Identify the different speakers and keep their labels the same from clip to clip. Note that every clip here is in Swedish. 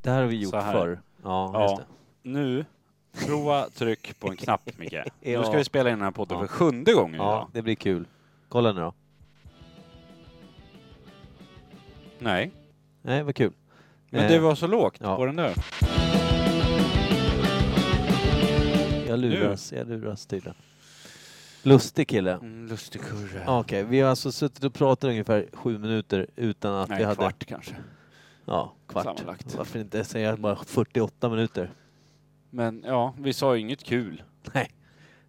Speaker 1: Det här har vi gjort
Speaker 2: Så här.
Speaker 1: förr. Ja,
Speaker 2: Ja.
Speaker 1: just det.
Speaker 2: Nu, prova tryck på en knapp Micke.
Speaker 1: Ja.
Speaker 2: Nu ska vi spela in den här podden
Speaker 1: Ja.
Speaker 2: för sjunde gången
Speaker 1: Ja,
Speaker 2: idag.
Speaker 1: det blir kul. Kolla nu då.
Speaker 2: Nej,
Speaker 1: Nej, vad kul.
Speaker 2: men
Speaker 1: Eh,
Speaker 2: det var så lågt
Speaker 1: ja.
Speaker 2: på den där.
Speaker 1: Jag luras, jag luras tydligen. Lustig kille.
Speaker 2: Mm, Lustig kurre.
Speaker 1: Ja, Okej, vi har alltså suttit och pratat ungefär sju minuter utan att
Speaker 2: Nej,
Speaker 1: vi hade...
Speaker 2: kvart kanske.
Speaker 1: Ja, kvart.
Speaker 2: Sammanlagt.
Speaker 1: Varför inte säga bara 48 minuter?
Speaker 2: Men ja, vi sa ju inget kul.
Speaker 1: Nej.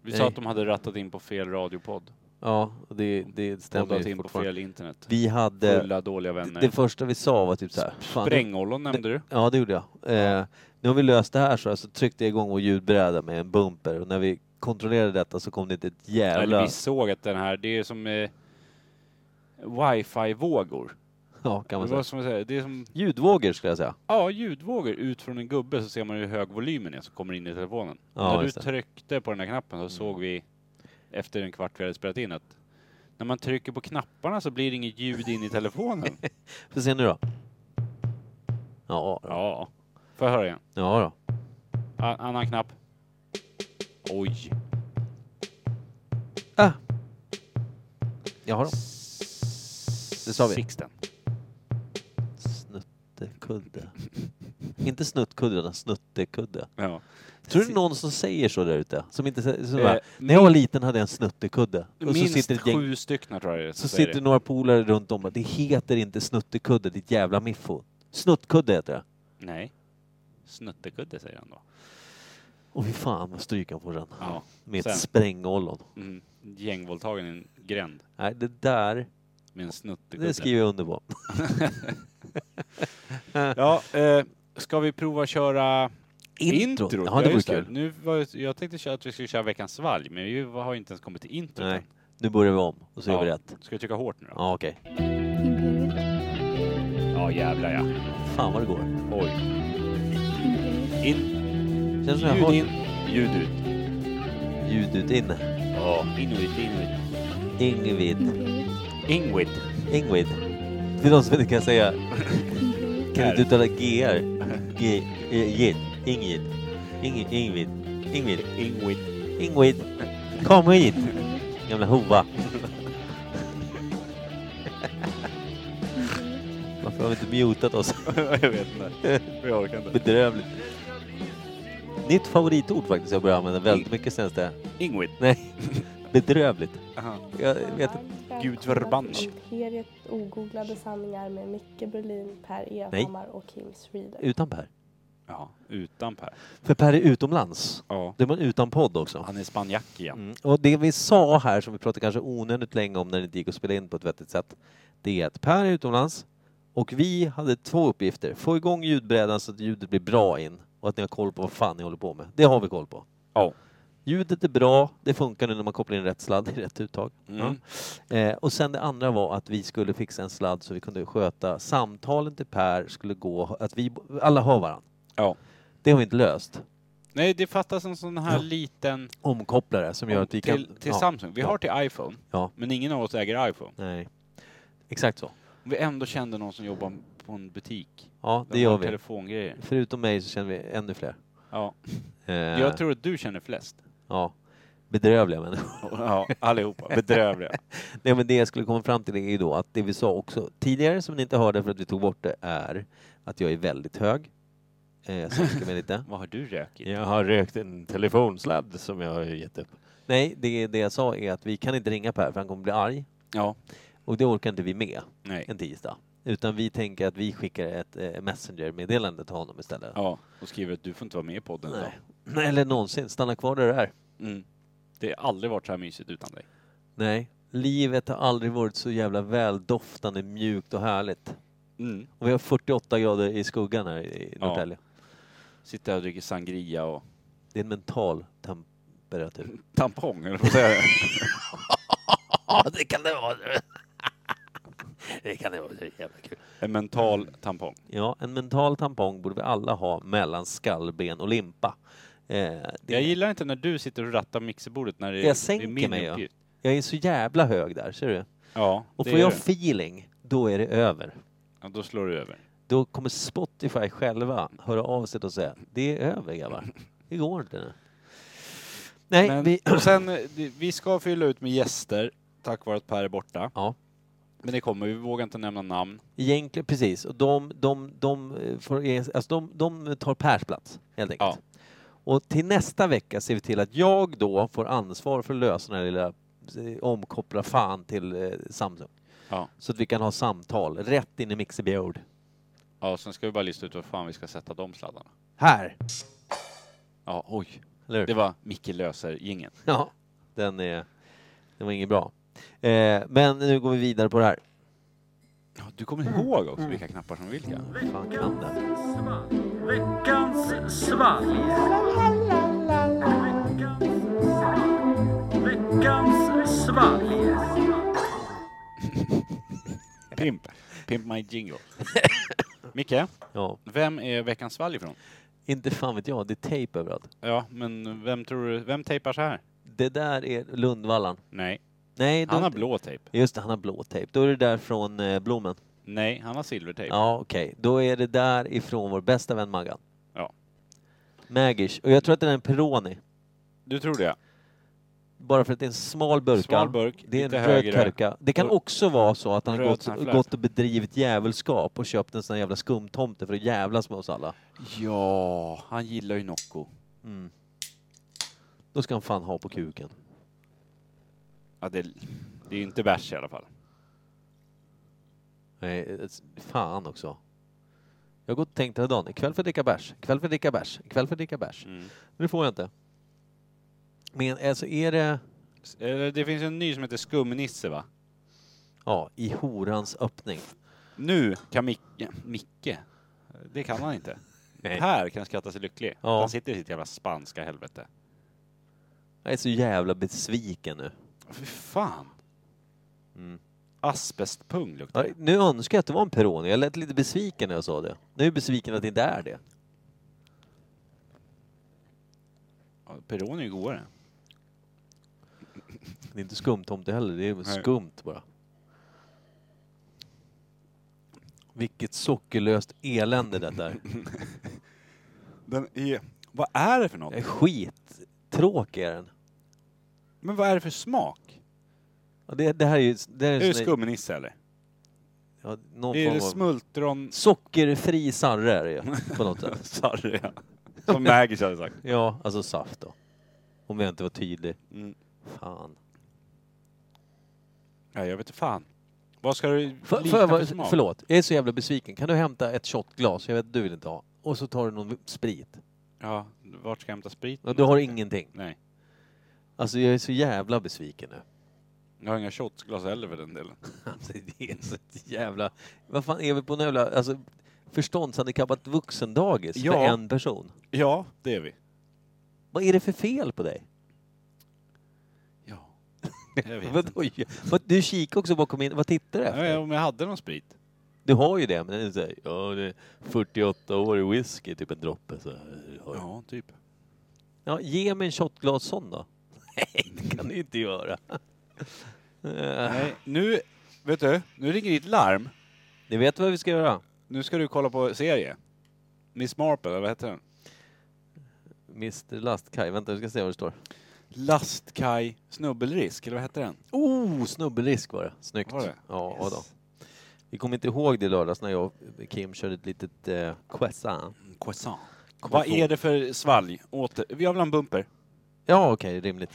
Speaker 2: Vi
Speaker 1: Nej.
Speaker 2: sa att de hade rattat in på fel radiopodd.
Speaker 1: Ja, och det, det stämmer
Speaker 2: Poddat
Speaker 1: ju
Speaker 2: in på
Speaker 1: fortfarande.
Speaker 2: fel internet.
Speaker 1: Vi hade...
Speaker 2: Fulla dåliga
Speaker 1: Det,
Speaker 2: vänner.
Speaker 1: det första vi sa var typ så här... fan, nu-
Speaker 2: Sprängollon nämnde du.
Speaker 1: Ja, det gjorde jag. Eh, nu har vi löst det här så, här, så tryckte jag igång vår ljudbräda med en bumper och när vi kontrollerade detta så kom det inte ett
Speaker 2: Eller
Speaker 1: jävla...
Speaker 2: vi såg att den här, det är som eh, wifi-vågor.
Speaker 1: Ja,
Speaker 2: Det,
Speaker 1: kan man
Speaker 2: var
Speaker 1: säga.
Speaker 2: som att säga, det är som
Speaker 1: Ljudvågor skulle jag säga.
Speaker 2: ja, ljudvågor ut från en gubbe så ser man hur hög volymen är som kommer in i telefonen.
Speaker 1: Ja,
Speaker 2: när du
Speaker 1: just det. Mm.
Speaker 2: tryckte på den här knappen så såg vi efter en kvart vi hade spelat in att när man trycker på knapparna så blir det inget ljud in i telefonen.
Speaker 1: Får se nu då. Ja, ja.
Speaker 2: ja. Får jag höra igen?
Speaker 1: ja då.
Speaker 2: A- annan knapp. Oj.
Speaker 1: Ah. Jaha då.
Speaker 2: Det
Speaker 1: sa vi.
Speaker 2: Sixten.
Speaker 1: Snuttekudde. inte snuttkudde, utan snuttekudde.
Speaker 2: Ja.
Speaker 1: Tror du det är någon som säger så där ute? Som inte säger, som
Speaker 2: Eh,
Speaker 1: bara, när jag var liten hade jag en snuttekudde. Och så
Speaker 2: Minst
Speaker 1: sitter ett gäng,
Speaker 2: sju stycken tror jag det är
Speaker 1: så
Speaker 2: som säger
Speaker 1: sitter några polare runt om och bara, det heter inte snuttekudde, ditt jävla miffo. Snuttkudde heter det.
Speaker 2: det. Nej. Snuttekudde säger han då.
Speaker 1: Och fy fan vad stryk han får sen.
Speaker 2: Ja.
Speaker 1: Med
Speaker 2: sen.
Speaker 1: ett sprängollon.
Speaker 2: Mm. Gängvåldtagen i en gränd
Speaker 1: Nej, det där,
Speaker 2: med en snuttekudde.
Speaker 1: det skriver jag under på.
Speaker 2: Ja, eh, ska vi prova köra intro?
Speaker 1: Ja, det vore
Speaker 2: just
Speaker 1: kul.
Speaker 2: Nu var, jag tänkte köra att vi skulle köra veckans svalg, men vi har ju inte ens kommit till intro.
Speaker 1: Nej, nu börjar vi om och så gör vi rätt.
Speaker 2: Ska vi trycka hårt nu då?
Speaker 1: Ja, okej.
Speaker 3: Imperial.
Speaker 2: Ja, jävlar ja.
Speaker 1: Fan vad det går.
Speaker 2: Oj.
Speaker 3: Imperial.
Speaker 2: In,
Speaker 1: Känns som jag
Speaker 2: ljud
Speaker 1: har
Speaker 2: in, ljud ut.
Speaker 1: ljud ut inne.
Speaker 2: Ja, in och ut, in och ut.
Speaker 1: Ingvid.
Speaker 3: Imperial.
Speaker 2: Ingrid.
Speaker 1: Ingvid. Till de som inte kan säga,
Speaker 3: Imperial.
Speaker 1: kan du
Speaker 2: Här.
Speaker 1: inte uttala gr? G, eh, gid. Ingrid. Ingrid. Ingrid. Ingrid.
Speaker 2: Ingrid.
Speaker 1: Ingrid. Kom hit! Gamla hova. Varför har vi inte mutat oss?
Speaker 2: jag vet inte. Jag orkar inte.
Speaker 1: Bedrövligt. Nytt favoritord faktiskt jag börjar använda väldigt mycket senaste...
Speaker 2: Ingrid.
Speaker 1: Nej. Bedrövligt.
Speaker 2: Aha.
Speaker 1: Jag vet inte.
Speaker 2: Gud förbannat.
Speaker 4: Imperiet ogooglade sanningar med Micke Berlin, Per
Speaker 1: Nej.
Speaker 4: Evhammar och Kim Schreeder.
Speaker 1: Utan Per.
Speaker 2: Ja, utan Per.
Speaker 1: För Per är utomlands.
Speaker 2: Ja.
Speaker 1: Då är man utan podd också.
Speaker 2: Han är spanjack igen.
Speaker 1: Mm. Och det vi sa här, som vi pratade kanske onödigt länge om när det inte gick att spela in på ett vettigt sätt, det är att Per är utomlands och vi hade två uppgifter. Få igång ljudbrädan så att ljudet blir bra in och att ni har koll på vad fan ni håller på med. Det har vi koll på.
Speaker 2: Ja.
Speaker 1: Ljudet är bra, det funkar nu när man kopplar in rätt sladd i rätt uttag.
Speaker 2: Mm.
Speaker 1: Ja. Eh, och sen det andra var att vi skulle fixa en sladd så vi kunde sköta samtalen till Per skulle gå, att vi alla hör varandra.
Speaker 2: Ja.
Speaker 1: Det har vi inte löst.
Speaker 2: Nej, det fattas en sån här
Speaker 1: Ja.
Speaker 2: liten
Speaker 1: Omkopplare som gör att vi
Speaker 2: till,
Speaker 1: kan...
Speaker 2: till
Speaker 1: ja.
Speaker 2: Samsung. Vi
Speaker 1: Ja.
Speaker 2: har till iPhone,
Speaker 1: Ja.
Speaker 2: men ingen av oss äger iPhone.
Speaker 1: Nej. Exakt så.
Speaker 2: Om vi ändå kände någon som jobbar på en butik.
Speaker 1: Ja,
Speaker 2: där
Speaker 1: det
Speaker 2: man
Speaker 1: gör
Speaker 2: har
Speaker 1: vi.
Speaker 2: Telefongrejer.
Speaker 1: Förutom mig så känner vi ännu fler.
Speaker 2: Ja.
Speaker 1: Eh,
Speaker 2: Jag tror att du känner flest.
Speaker 1: Ja. Bedrövliga människor.
Speaker 2: Ja, allihopa. Bedrövliga.
Speaker 1: Nej men det jag skulle komma fram till är ju då att det vi sa också tidigare som ni inte hörde för att vi tog bort det är att jag är väldigt hög. Eh, jag sänker mig lite.
Speaker 2: Vad har du rökit?
Speaker 1: Jag har rökt en telefonsladd som jag har gett upp. Nej, det, det jag sa är att vi kan inte ringa Per för han kommer bli arg.
Speaker 2: Ja.
Speaker 1: Och det orkar inte vi med
Speaker 2: Nej.
Speaker 1: en tisdag. Utan vi tänker att vi skickar ett eh, messenger-meddelande till honom istället.
Speaker 2: Ja, och skriver att du får inte vara med i podden. idag.
Speaker 1: Nej. Nej, eller någonsin. Stanna kvar där du är.
Speaker 2: Mm. Det har aldrig varit så här mysigt utan dig.
Speaker 1: Nej, livet har aldrig varit så jävla väldoftande, mjukt och härligt.
Speaker 2: Mm.
Speaker 1: Och vi har 48 grader i skuggan här i
Speaker 2: Ja.
Speaker 1: Norrtälje.
Speaker 2: Sitter här och dricker sangria och
Speaker 1: Det är en mental temperatur.
Speaker 2: tampong, eller vad säger jag?
Speaker 1: Ja, det kan det vara. Det kan det vara. Det är jävla kul.
Speaker 2: En mental tampong.
Speaker 1: Ja, en mental tampong borde vi alla ha mellan skallben och limpa. Eh, det,
Speaker 2: Jag gillar inte när du sitter och rattar mixerbordet när det,
Speaker 1: Jag sänker
Speaker 2: det är min
Speaker 1: mig, ja.
Speaker 2: uppgift.
Speaker 1: jag är så jävla hög där, ser du?
Speaker 2: Ja,
Speaker 1: Och
Speaker 2: det
Speaker 1: får
Speaker 2: är
Speaker 1: jag
Speaker 2: du.
Speaker 1: feeling, då är det över.
Speaker 2: ja, då slår du över.
Speaker 1: Då kommer Spotify själva höra av sig och säga det är över grabbar. Det går inte nu. Nej,
Speaker 2: Men,
Speaker 1: vi...
Speaker 2: och sen, eh, det- vi ska fylla ut med gäster tack vare att Per är borta.
Speaker 1: Ja.
Speaker 2: Men det kommer, vi vågar inte nämna namn.
Speaker 1: Egentligen, precis. Och de, de, de, eh, får, egen- alltså de, de tar Pers plats, helt enkelt. Och till nästa vecka ser vi till att jag då får ansvar för att lösa den här lilla eh, omkoppla fan till eh, Samsung.
Speaker 2: Ja.
Speaker 1: Så att vi kan ha samtal rätt in i Mixerbjörd.
Speaker 2: Ja, sen ska vi bara lista ut var fan vi ska sätta de sladdarna.
Speaker 1: Här!
Speaker 2: Ja, oj.
Speaker 1: Eller hur?
Speaker 2: Det var Micke löser ingen.
Speaker 1: Ja, den är... Den var ingen bra. Eh, men nu går vi vidare på det här.
Speaker 2: Du kommer ihåg också vilka knappar som är vilka.
Speaker 1: Fan kan det.
Speaker 5: Veckans svalg. Veckans svalg.
Speaker 2: Pimp. Pimp my jingle. Micke,
Speaker 1: Ja,
Speaker 2: vem är veckans svalg ifrån?
Speaker 1: inte fan vet jag. Det är tejp överallt.
Speaker 2: Ja, men vem tror du, vem tejpar så här?
Speaker 1: Det där är Lundvallan.
Speaker 2: Nej,
Speaker 1: Nej, då-
Speaker 2: han har blå tejp.
Speaker 1: Just det, han har blå tejp. Då är det där från eh, Blommen.
Speaker 2: Nej, han har silvertejp.
Speaker 1: Ja, okej. Då är det där ifrån vår bästa vän Maggan.
Speaker 2: Ja.
Speaker 1: Magish. Och jag tror att det är en Peroni.
Speaker 2: Du tror det?
Speaker 1: Bara för att det är en smal burka.
Speaker 2: Smal burk,
Speaker 1: det är en
Speaker 2: lite
Speaker 1: röd
Speaker 2: högre.
Speaker 1: kurka. Det kan
Speaker 2: Och-
Speaker 1: också vara så att han har
Speaker 2: Röd
Speaker 1: gått,
Speaker 2: sån här flärp.
Speaker 1: gått och bedrivit djävulskap och köpt en sån här jävla skumtomte för att jävlas med oss alla.
Speaker 2: Ja, han gillar ju Nocco.
Speaker 1: Mm. Då ska han fan ha på kuken.
Speaker 2: Ja, det, det är ju inte bärs i alla fall.
Speaker 1: Nej, ett- fan också. Jag har gått och tänkt hela dagen. Ikväll får jag dricka bärs, ikväll får jag dricka bärs, ikväll får jag dricka bärs.
Speaker 2: Mm.
Speaker 1: Nu får jag inte. Men alltså är det...
Speaker 2: Eller, Eh, Det finns en ny som heter Skumnisse va?
Speaker 1: Ja, i horans öppning.
Speaker 2: Nu kan Micke... Micke? Det kan han inte.
Speaker 1: Nej.
Speaker 2: Per kan skratta sig lycklig.
Speaker 1: Ja.
Speaker 2: Han sitter i sitt jävla spanska helvete.
Speaker 1: Jag är så jävla besviken nu.
Speaker 2: Fy fan.
Speaker 1: Mm.
Speaker 2: Asbestpung luktar
Speaker 1: Ja,
Speaker 2: det.
Speaker 1: Nu önskar jag att det var en Peroni. Jag lät lite besviken när jag sa det. Nu är jag besviken att det inte är det.
Speaker 2: Ja, Peroni är ju godare.
Speaker 1: Det är inte skumtomte heller. Det är
Speaker 2: Nej.
Speaker 1: skumt bara. Vilket sockerlöst elände det där.
Speaker 2: Den är... Vad är det för något?
Speaker 1: Jag är Skittråkig är den.
Speaker 2: Men vad är det för smak?
Speaker 1: Ja, Det, det här är ju... Det här
Speaker 2: Är
Speaker 1: är
Speaker 2: det
Speaker 1: en sån där,
Speaker 2: skumnisse eller?
Speaker 1: ja, någon
Speaker 2: Det är det
Speaker 1: form av...
Speaker 2: smultron...
Speaker 1: Sockerfri sarre är det ju, på något sätt.
Speaker 2: Sorry, ja. Som Maggie hade sagt.
Speaker 1: Ja, alltså saft då. Om jag inte var tydlig.
Speaker 2: Mm.
Speaker 1: Fan.
Speaker 2: Ja, jag vet inte fan. Vad ska du
Speaker 1: För,
Speaker 2: likna
Speaker 1: för,
Speaker 2: för,
Speaker 1: för,
Speaker 2: smak?
Speaker 1: förlåt, jag är så jävla besviken. Kan du hämta ett shotglas? Jag vet att du vill inte ha. Och så tar du någon sprit.
Speaker 2: Ja, vart ska jag hämta sprit?
Speaker 1: Och du har ingenting.
Speaker 2: Nej.
Speaker 1: Alltså jag är så jävla besviken nu.
Speaker 2: Jag har inga shotsglas heller för den delen.
Speaker 1: Alltså, det är så ett jävla... Vad fan är vi på en jävla... Alltså, förståndshandikappat vuxendagis
Speaker 2: Ja.
Speaker 1: för en person.
Speaker 2: Ja, det är vi.
Speaker 1: Vad är det för fel på dig?
Speaker 2: Ja. Jag vet inte.
Speaker 1: Vadå? Vad- Du kikar också bakom in. Vad tittar du efter?
Speaker 2: Nej, om jag hade någon sprit.
Speaker 1: Du har ju det, men det är så här, ja, det är 48 år i whisky, typ en droppe. Så här, har jag.
Speaker 2: Ja, typ.
Speaker 1: Ja, ge mig en shotglas sån då. Nej, det kan du inte göra. Eh,
Speaker 2: Nej, nu, vet du, nu ringer ditt larm.
Speaker 1: Ni vet vad vi ska göra?
Speaker 2: Nu ska du kolla på serie. Miss Marple, eller vad heter den?
Speaker 1: Mr Lastkaj. Vänta, vi ska se vad det står.
Speaker 2: Lastkaj Snubbelrisk, eller vad heter den?
Speaker 1: Oh, snubbelrisk var det. Snyggt.
Speaker 2: Var det?
Speaker 1: Ja, yes. då. Vi kommer inte ihåg det lördags när jag och Kim körde ett litet eh, croissant.
Speaker 2: Mm, Croissant. Vad är det för svalg? Åter. Vi har väl en bumper?
Speaker 1: Ja, okej, rimligt.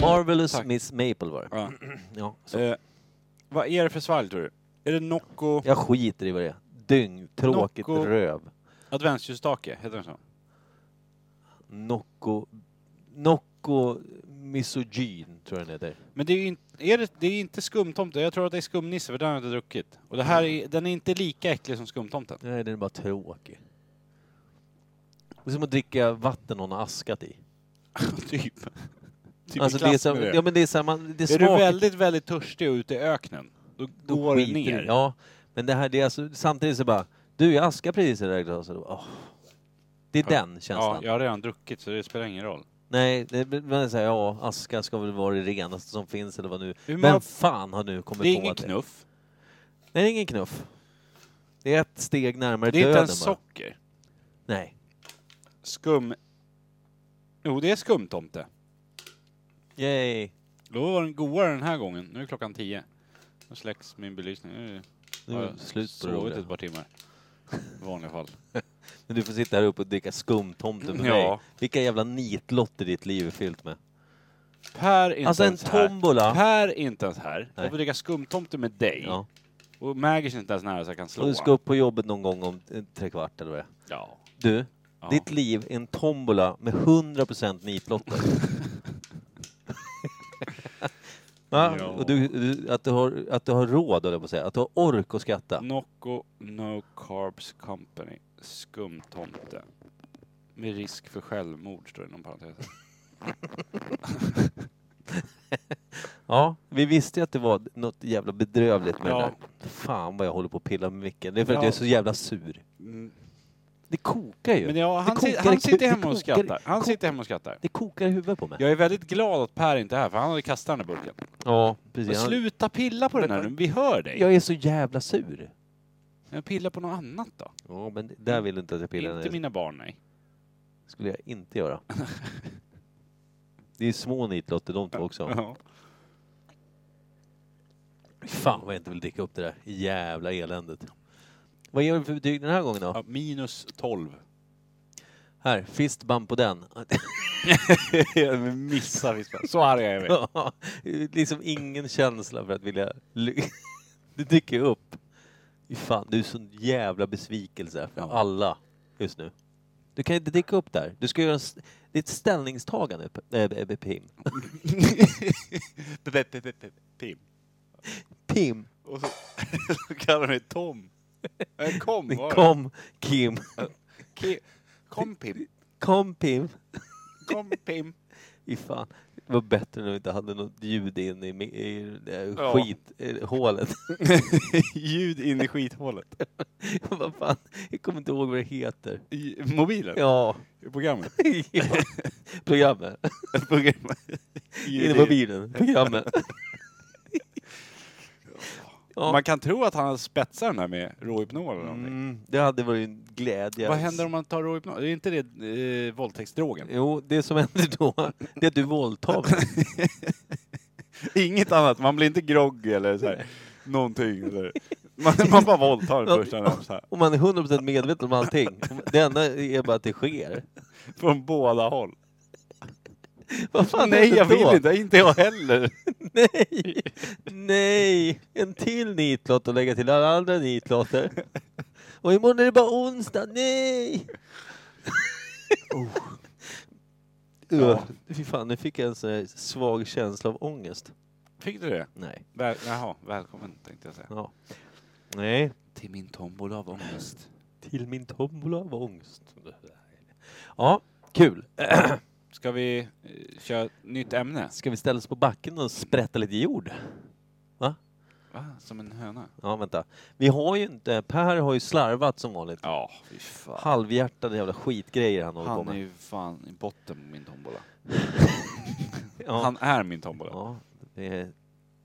Speaker 1: Marvelous
Speaker 2: Tack.
Speaker 1: Miss Maple var det.
Speaker 2: Ja.
Speaker 1: Ja, så.
Speaker 2: Eh, vad är det för svalg tror du? Är det Nocco
Speaker 1: Jag skiter i vad det är. Dyngtråkigt
Speaker 2: Nocco.
Speaker 1: röv.
Speaker 2: adventsljusstake? Heter den så?
Speaker 1: Nocco... Nocco misogyn, tror jag den heter.
Speaker 2: Men det är ju inte, är det, det är inte skumtomte. Jag tror att det är skumnisse för den har jag inte druckit. Och det här är, den är inte lika äcklig som skumtomten.
Speaker 1: Nej, den är bara tråkig. Det är som att dricka vatten någon har askat i.
Speaker 2: typ.
Speaker 1: alltså,
Speaker 2: typ alltså,
Speaker 1: det är så, ja, men det är så här, man, det
Speaker 2: är
Speaker 1: smakar-
Speaker 2: du väldigt, väldigt törstig och ute i öknen, då,
Speaker 1: då
Speaker 2: går det
Speaker 1: skiter
Speaker 2: ner.
Speaker 1: du- Ja, men det här, det är alltså, samtidigt så bara, du jag askar precis i det där glaset. Åh. Det är
Speaker 2: Ja.
Speaker 1: den känslan.
Speaker 2: ja, jag har redan druckit så det spelar ingen roll.
Speaker 1: Nej, det, men så här, ja, aska ska väl vara det renaste som finns eller vad nu.
Speaker 2: Hur
Speaker 1: Vem
Speaker 2: många,
Speaker 1: fan har nu kommit
Speaker 2: det är
Speaker 1: på
Speaker 2: ingen
Speaker 1: att det-
Speaker 2: knuff.
Speaker 1: Nej, det är ingen knuff. Det är ett steg närmare
Speaker 2: Det är inte
Speaker 1: döden
Speaker 2: ens
Speaker 1: bara.
Speaker 2: socker.
Speaker 1: Nej.
Speaker 2: Skum... Jo, det är skumtomte.
Speaker 1: Yay.
Speaker 2: Då var den godare den här gången. Nu är klockan tio. Nu släcks min belysning. Nu
Speaker 1: Nu
Speaker 2: har
Speaker 1: är
Speaker 2: jag
Speaker 1: det slut på det
Speaker 2: sovit ett
Speaker 1: roliga.
Speaker 2: par timmar. I vanliga fall.
Speaker 1: Men Du får sitta här uppe och dricka skumtomte med
Speaker 2: Ja.
Speaker 1: mig. Vilka jävla nitlotter ditt liv är fyllt med.
Speaker 2: Per är inte
Speaker 1: Alltså en
Speaker 2: ens här.
Speaker 1: tombola.
Speaker 2: Per är inte ens här.
Speaker 1: Nej.
Speaker 2: Jag får dricka skumtomte med dig.
Speaker 1: Ja.
Speaker 2: Och Magis är inte ens nära så jag kan slå.
Speaker 1: Och du ska upp på jobbet någon gång om eh, tre kvart eller vad det är.
Speaker 2: Ja.
Speaker 1: Du,
Speaker 2: ja.
Speaker 1: ditt liv är en tombola med 100% nitlotter. Va?
Speaker 2: Ja.
Speaker 1: Och du, du, att, du har, att du har råd, höll jag på att säga. Att du har ork att skratta.
Speaker 2: Mm. Nocco No Carbs Company. Skumtomte. Med risk för självmord står det inom parentes.
Speaker 1: Ja, vi visste ju att det var något jävla bedrövligt med
Speaker 2: Ja.
Speaker 1: det där. Fan vad jag håller på att pilla med micken. Det är för att
Speaker 2: Ja.
Speaker 1: jag är så jävla sur.
Speaker 2: Mm.
Speaker 1: Det kokar ju.
Speaker 2: Men ja, han,
Speaker 1: kokar
Speaker 2: sit,
Speaker 1: i
Speaker 2: han
Speaker 1: ku-
Speaker 2: sitter
Speaker 1: det
Speaker 2: hemma och
Speaker 1: kokar i-
Speaker 2: skrattar. Han
Speaker 1: kok-
Speaker 2: sitter hemma och skrattar.
Speaker 1: Det kokar i huvudet på mig.
Speaker 2: Jag är väldigt glad att Per inte är här, för han hade kastat den där burken.
Speaker 1: Ja, precis. Han-
Speaker 2: Sluta pilla på den här nu, vi hör dig.
Speaker 1: Jag är så jävla sur.
Speaker 2: Men Pilla på något annat då.
Speaker 1: Ja, men det- där vill du inte att jag pillar.
Speaker 2: Inte
Speaker 1: Min...
Speaker 2: mina barn, nej.
Speaker 1: skulle jag inte göra. det är små nitlotter de två också.
Speaker 2: Ja.
Speaker 1: Fan vad jag inte vill dricka upp det där jävla eländet. Vad ger vi för betyg den här gången då?
Speaker 2: Ja, minus 12.
Speaker 1: Här, fist bump på den.
Speaker 2: jag missar visst. Så arg är vi.
Speaker 1: Ja, liksom ingen känsla för att vilja... ly- Det dyker upp. Fy Fan, du är sån jävla besvikelse för
Speaker 2: Ja.
Speaker 1: alla just nu. Du kan inte dyka upp där. Du ska göra en s- det är ett ställningstagande, P- eh, eh, Pim.
Speaker 2: Pim.
Speaker 1: Pim,
Speaker 2: Och så, så kallar mig Tom. Eh, Kom, var det?
Speaker 1: kom Kim.
Speaker 2: Ki- Kom Pim.
Speaker 1: Kom Pim.
Speaker 2: Kom Pim.
Speaker 1: Fy fan. Det var bättre när vi inte hade något ljud in i, mi- i det där
Speaker 2: Ja.
Speaker 1: skit, eh, hålet.
Speaker 2: Ljud in i skithålet.
Speaker 1: Vad fan, jag kommer inte ihåg vad det heter.
Speaker 2: I mobilen?
Speaker 1: Ja,
Speaker 2: I programmet?
Speaker 1: ja. programmet.
Speaker 2: programmet.
Speaker 1: In i mobilen, programmet. Ja.
Speaker 2: Man kan tro att han spetsar den här med råhypnol eller någonting.
Speaker 1: Mm, det hade varit en glädje.
Speaker 2: Vad händer om man tar råhypnol? Är inte det eh, våldtäktsdrogen?
Speaker 1: Jo, det som händer då, det är att du våldtar mig.
Speaker 2: Inget annat, man blir inte groggy eller så här, någonting. Eller. Man, man bara våldtar den första närmast här.
Speaker 1: Och man är 100% medveten om allting. Det enda är bara att det sker.
Speaker 2: Från båda håll.
Speaker 1: Vad fan
Speaker 2: Nej,
Speaker 1: händer
Speaker 2: jag
Speaker 1: då?
Speaker 2: vill inte. Inte jag heller.
Speaker 1: Nej! Nej! En till nitlott och lägga till alla andra nitlotter. Och imorgon är det bara onsdag. Nej! Oh.
Speaker 2: Ja.
Speaker 1: Fy fan, nu fick jag en sån här svag känsla av ångest.
Speaker 2: Fick du det?
Speaker 1: Nej.
Speaker 2: Väl, jaha, välkommen tänkte jag säga.
Speaker 1: Ja. Nej.
Speaker 2: Till min tombola av ångest.
Speaker 1: Till min tombola av ångest. Ja, kul.
Speaker 2: Ska vi eh, köra ett nytt ämne?
Speaker 1: Ska vi ställa oss på backen och sprätta lite jord?
Speaker 2: Va? Som en höna?
Speaker 1: Ja, vänta. Vi har ju inte... Per har ju slarvat som vanligt.
Speaker 2: Ja, fy fan.
Speaker 1: Halvhjärtade jävla skitgrejer han håller på
Speaker 2: Han är
Speaker 1: med.
Speaker 2: ju fan i botten på min tombola.
Speaker 1: Ja.
Speaker 2: Han är min tombola.
Speaker 1: Ja, det är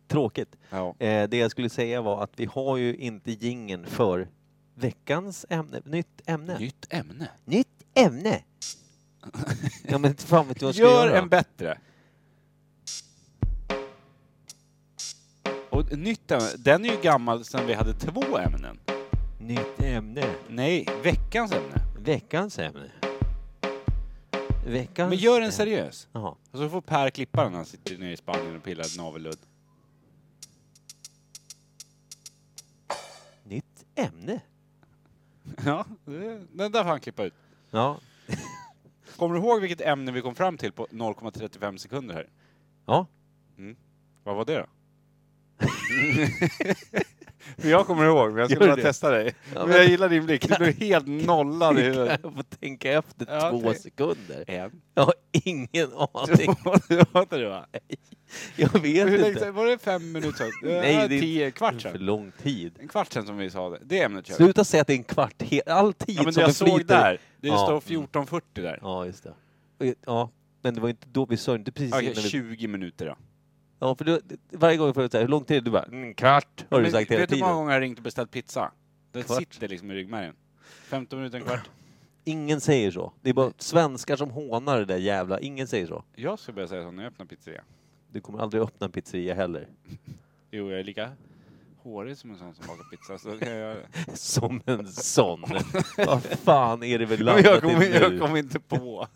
Speaker 1: tråkigt.
Speaker 2: Ja.
Speaker 1: Eh, det jag skulle säga var att vi har ju inte gingen för veckans ämne, nytt ämne.
Speaker 2: Nytt ämne.
Speaker 1: Nytt ämne! ja men inte fan vet du vad jag ska
Speaker 2: Gör
Speaker 1: göra.
Speaker 2: en bättre. Och nytt ämne. Den är ju gammal sedan vi hade två ämnen.
Speaker 1: Nytt ämne.
Speaker 2: Nej, veckans ämne.
Speaker 1: Veckans ämne. Veckans
Speaker 2: Men gör en
Speaker 1: ämne.
Speaker 2: seriös.
Speaker 1: Jaha.
Speaker 2: Och så får Per klippa den när han sitter nere i Spanien och pillar navelludd.
Speaker 1: Nytt ämne.
Speaker 2: Ja, det- den där får han klippa ut.
Speaker 1: Ja.
Speaker 2: Kommer du ihåg vilket ämne vi kom fram till på 0,35 sekunder här?
Speaker 1: Ja.
Speaker 2: Mm. Vad var det då? Men jag kommer ihåg, men jag
Speaker 1: Gör
Speaker 2: skulle bara
Speaker 1: det.
Speaker 2: testa dig.
Speaker 1: Ja,
Speaker 2: Men jag
Speaker 1: men,
Speaker 2: gillar din blick, du blev helt nollad i huvudet.
Speaker 1: jag får tänka efter
Speaker 2: Ja,
Speaker 1: två
Speaker 2: okej.
Speaker 1: sekunder.
Speaker 2: En.
Speaker 1: Jag har ingen aning.
Speaker 2: Var det det va?
Speaker 1: Jag vet
Speaker 2: Hur länge
Speaker 1: inte.
Speaker 2: sedan- Var det fem minuter sedan?
Speaker 1: Nej,
Speaker 2: Nej,
Speaker 1: det är-
Speaker 2: tio, kvart
Speaker 1: För
Speaker 2: sedan.
Speaker 1: lång tid.
Speaker 2: En kvart sedan som vi sa det. Det ämnet kör vi.
Speaker 1: Sluta säga att det är en kvart, he- all tid
Speaker 2: Ja men
Speaker 1: som
Speaker 2: jag
Speaker 1: förflyter.
Speaker 2: såg där. Det
Speaker 1: Ja.
Speaker 2: står 14.40 där.
Speaker 1: Ja, just det. Och- Ja, men det var ju inte då vi sa inte precis
Speaker 2: Okej,
Speaker 1: innan vi...
Speaker 2: 20 minuter då.
Speaker 1: Ja, för du, varje gång jag frågar så här, hur lång tid är det? Du bara, mm, kvart, har du
Speaker 2: Men
Speaker 1: sagt hela
Speaker 2: Vet du hur många
Speaker 1: tiden.
Speaker 2: gånger jag ringt och beställt pizza? Det
Speaker 1: Kvart.
Speaker 2: sitter liksom i ryggmärgen. 15 minuter, en kvart.
Speaker 1: Ingen säger så. Det är bara svenskar som hånar det där jävla. Ingen säger så.
Speaker 2: Jag ska börja säga så när jag öppnar pizzeria.
Speaker 1: Du kommer aldrig öppna en pizzeria heller.
Speaker 2: Jo, jag är lika hårig som en sån som bakar pizza. Så kan jag göra det.
Speaker 1: Som en sån. Vad fan är det väl
Speaker 2: Men
Speaker 1: landat
Speaker 2: jag
Speaker 1: i
Speaker 2: kommer
Speaker 1: nu?
Speaker 2: jag kom inte på.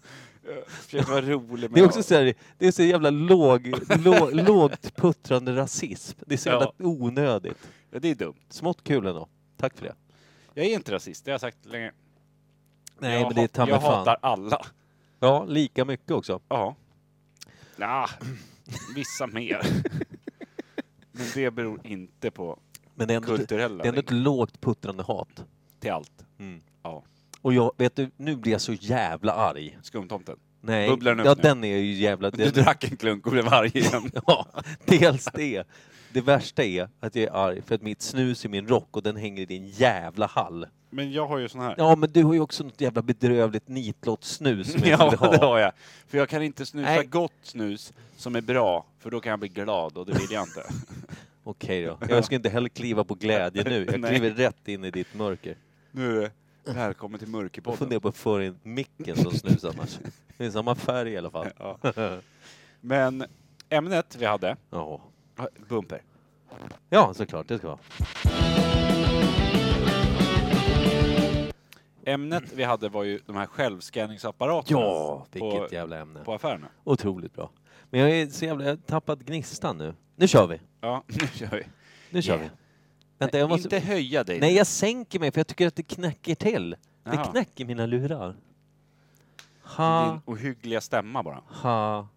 Speaker 2: Jag försöker vara rolig. men
Speaker 1: Det är också
Speaker 2: jag-
Speaker 1: så här, det är så jävla låg, lå, lågt puttrande rasism. Det är så jävla onödigt.
Speaker 2: Ja, det är dumt.
Speaker 1: Smått kul ändå. Tack för det.
Speaker 2: Jag är inte rasist, det har jag sagt länge.
Speaker 1: Nej,
Speaker 2: jag
Speaker 1: men det är
Speaker 2: hat-
Speaker 1: ta mig
Speaker 2: Jag
Speaker 1: fan.
Speaker 2: hatar alla.
Speaker 1: Ja, lika mycket också.
Speaker 2: Ja. Nja, vissa mer. Men det beror inte på
Speaker 1: Men det är ändå, det
Speaker 2: kulturella
Speaker 1: är ändå ett
Speaker 2: ting.
Speaker 1: lågt puttrande hat.
Speaker 2: till allt. Ja.
Speaker 1: Ja. Och jag, vet du, nu blir jag så jävla arg.
Speaker 2: Skumtomten.
Speaker 1: Nej,
Speaker 2: Bubblar den upp
Speaker 1: ja
Speaker 2: nu?
Speaker 1: den är ju jävla...
Speaker 2: Du
Speaker 1: Den,
Speaker 2: drack en klunk och blev arg igen.
Speaker 1: ja, dels det. Det värsta är att jag är arg för att mitt snus i min rock och den hänger i din jävla hall.
Speaker 2: Men jag har ju sån här.
Speaker 1: Ja, men du har ju också något jävla bedrövligt nitlott-snus som jag
Speaker 2: Ja,
Speaker 1: skulle
Speaker 2: det
Speaker 1: ha.
Speaker 2: har jag. För jag kan inte snusa
Speaker 1: Nej.
Speaker 2: gott snus som är bra, för då kan jag bli glad och det vill jag inte.
Speaker 1: Okej då. Jag ska inte heller kliva på glädje nu. Jag
Speaker 2: Nej.
Speaker 1: kliver rätt in i ditt mörker.
Speaker 2: Nu är det välkommen till
Speaker 1: Jag
Speaker 2: Mörkerpodden.
Speaker 1: funderar på att föra in micken som snus annars. Det är samma färg i alla fall.
Speaker 2: Ja. Men ämnet vi hade,
Speaker 1: Ja,
Speaker 2: bumper.
Speaker 1: ja såklart. Det ska vara.
Speaker 2: Ämnet vi hade var ju de här självskanningsapparaterna
Speaker 1: Ja,
Speaker 2: på,
Speaker 1: vilket jävla ämne.
Speaker 2: på affärerna.
Speaker 1: Otroligt bra. Men jag är så jävla... Jag har tappat gnistan nu. Nu kör vi.
Speaker 2: Ja, nu kör vi.
Speaker 1: Nu kör
Speaker 2: Yeah.
Speaker 1: vi. Vänta, jag måste...
Speaker 2: Inte höja dig.
Speaker 1: Nej, jag sänker mig för jag tycker att det knäcker till.
Speaker 2: Jaha.
Speaker 1: Det knäcker mina lurar.
Speaker 2: Din
Speaker 1: Ha,
Speaker 2: ohyggliga stämma bara.
Speaker 1: ha.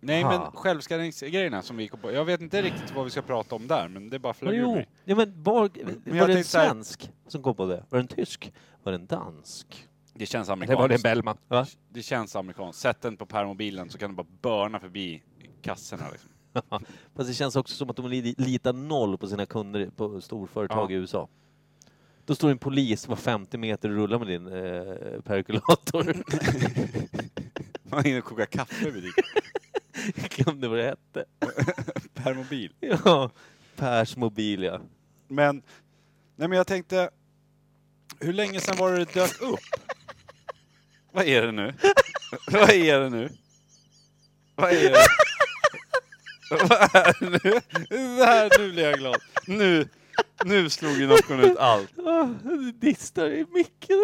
Speaker 2: Nej,
Speaker 1: Ha.
Speaker 2: men självskanningsgrejerna som vi kom på. Jag vet inte riktigt vad vi ska prata om där, men det bara flög ur
Speaker 1: Jo,
Speaker 2: mig.
Speaker 1: ja, men var,
Speaker 2: jag
Speaker 1: var det en
Speaker 2: tänkte så här-
Speaker 1: svensk som kom på det? Var det en tysk? Var det en dansk?
Speaker 2: Det känns
Speaker 1: Eller
Speaker 2: amerikanskt.
Speaker 1: var det en Bellman? Va?
Speaker 2: Det känns amerikanskt. Sätt den på permobilen så kan du bara börna förbi kassorna. Liksom.
Speaker 1: Fast det känns också som att de li- litar noll på sina kunder på storföretag
Speaker 2: Ja.
Speaker 1: i USA. Då står en polis var 50 meter och rullar med din eh, perkulator.
Speaker 2: Man hinner koka kaffe vid typ. din
Speaker 1: Jag glömde vad det hette.
Speaker 2: permobil.
Speaker 1: Ja, Pers mobil ja.
Speaker 2: Men, nej men jag tänkte, hur länge sedan var det det dök upp? Vad är det nu? Vad är det nu? Vad är det? Vad är det nu? Det här, nu blir jag glad. Nu, nu slog ju någon ut allt.
Speaker 1: Ah, Du distar i micken.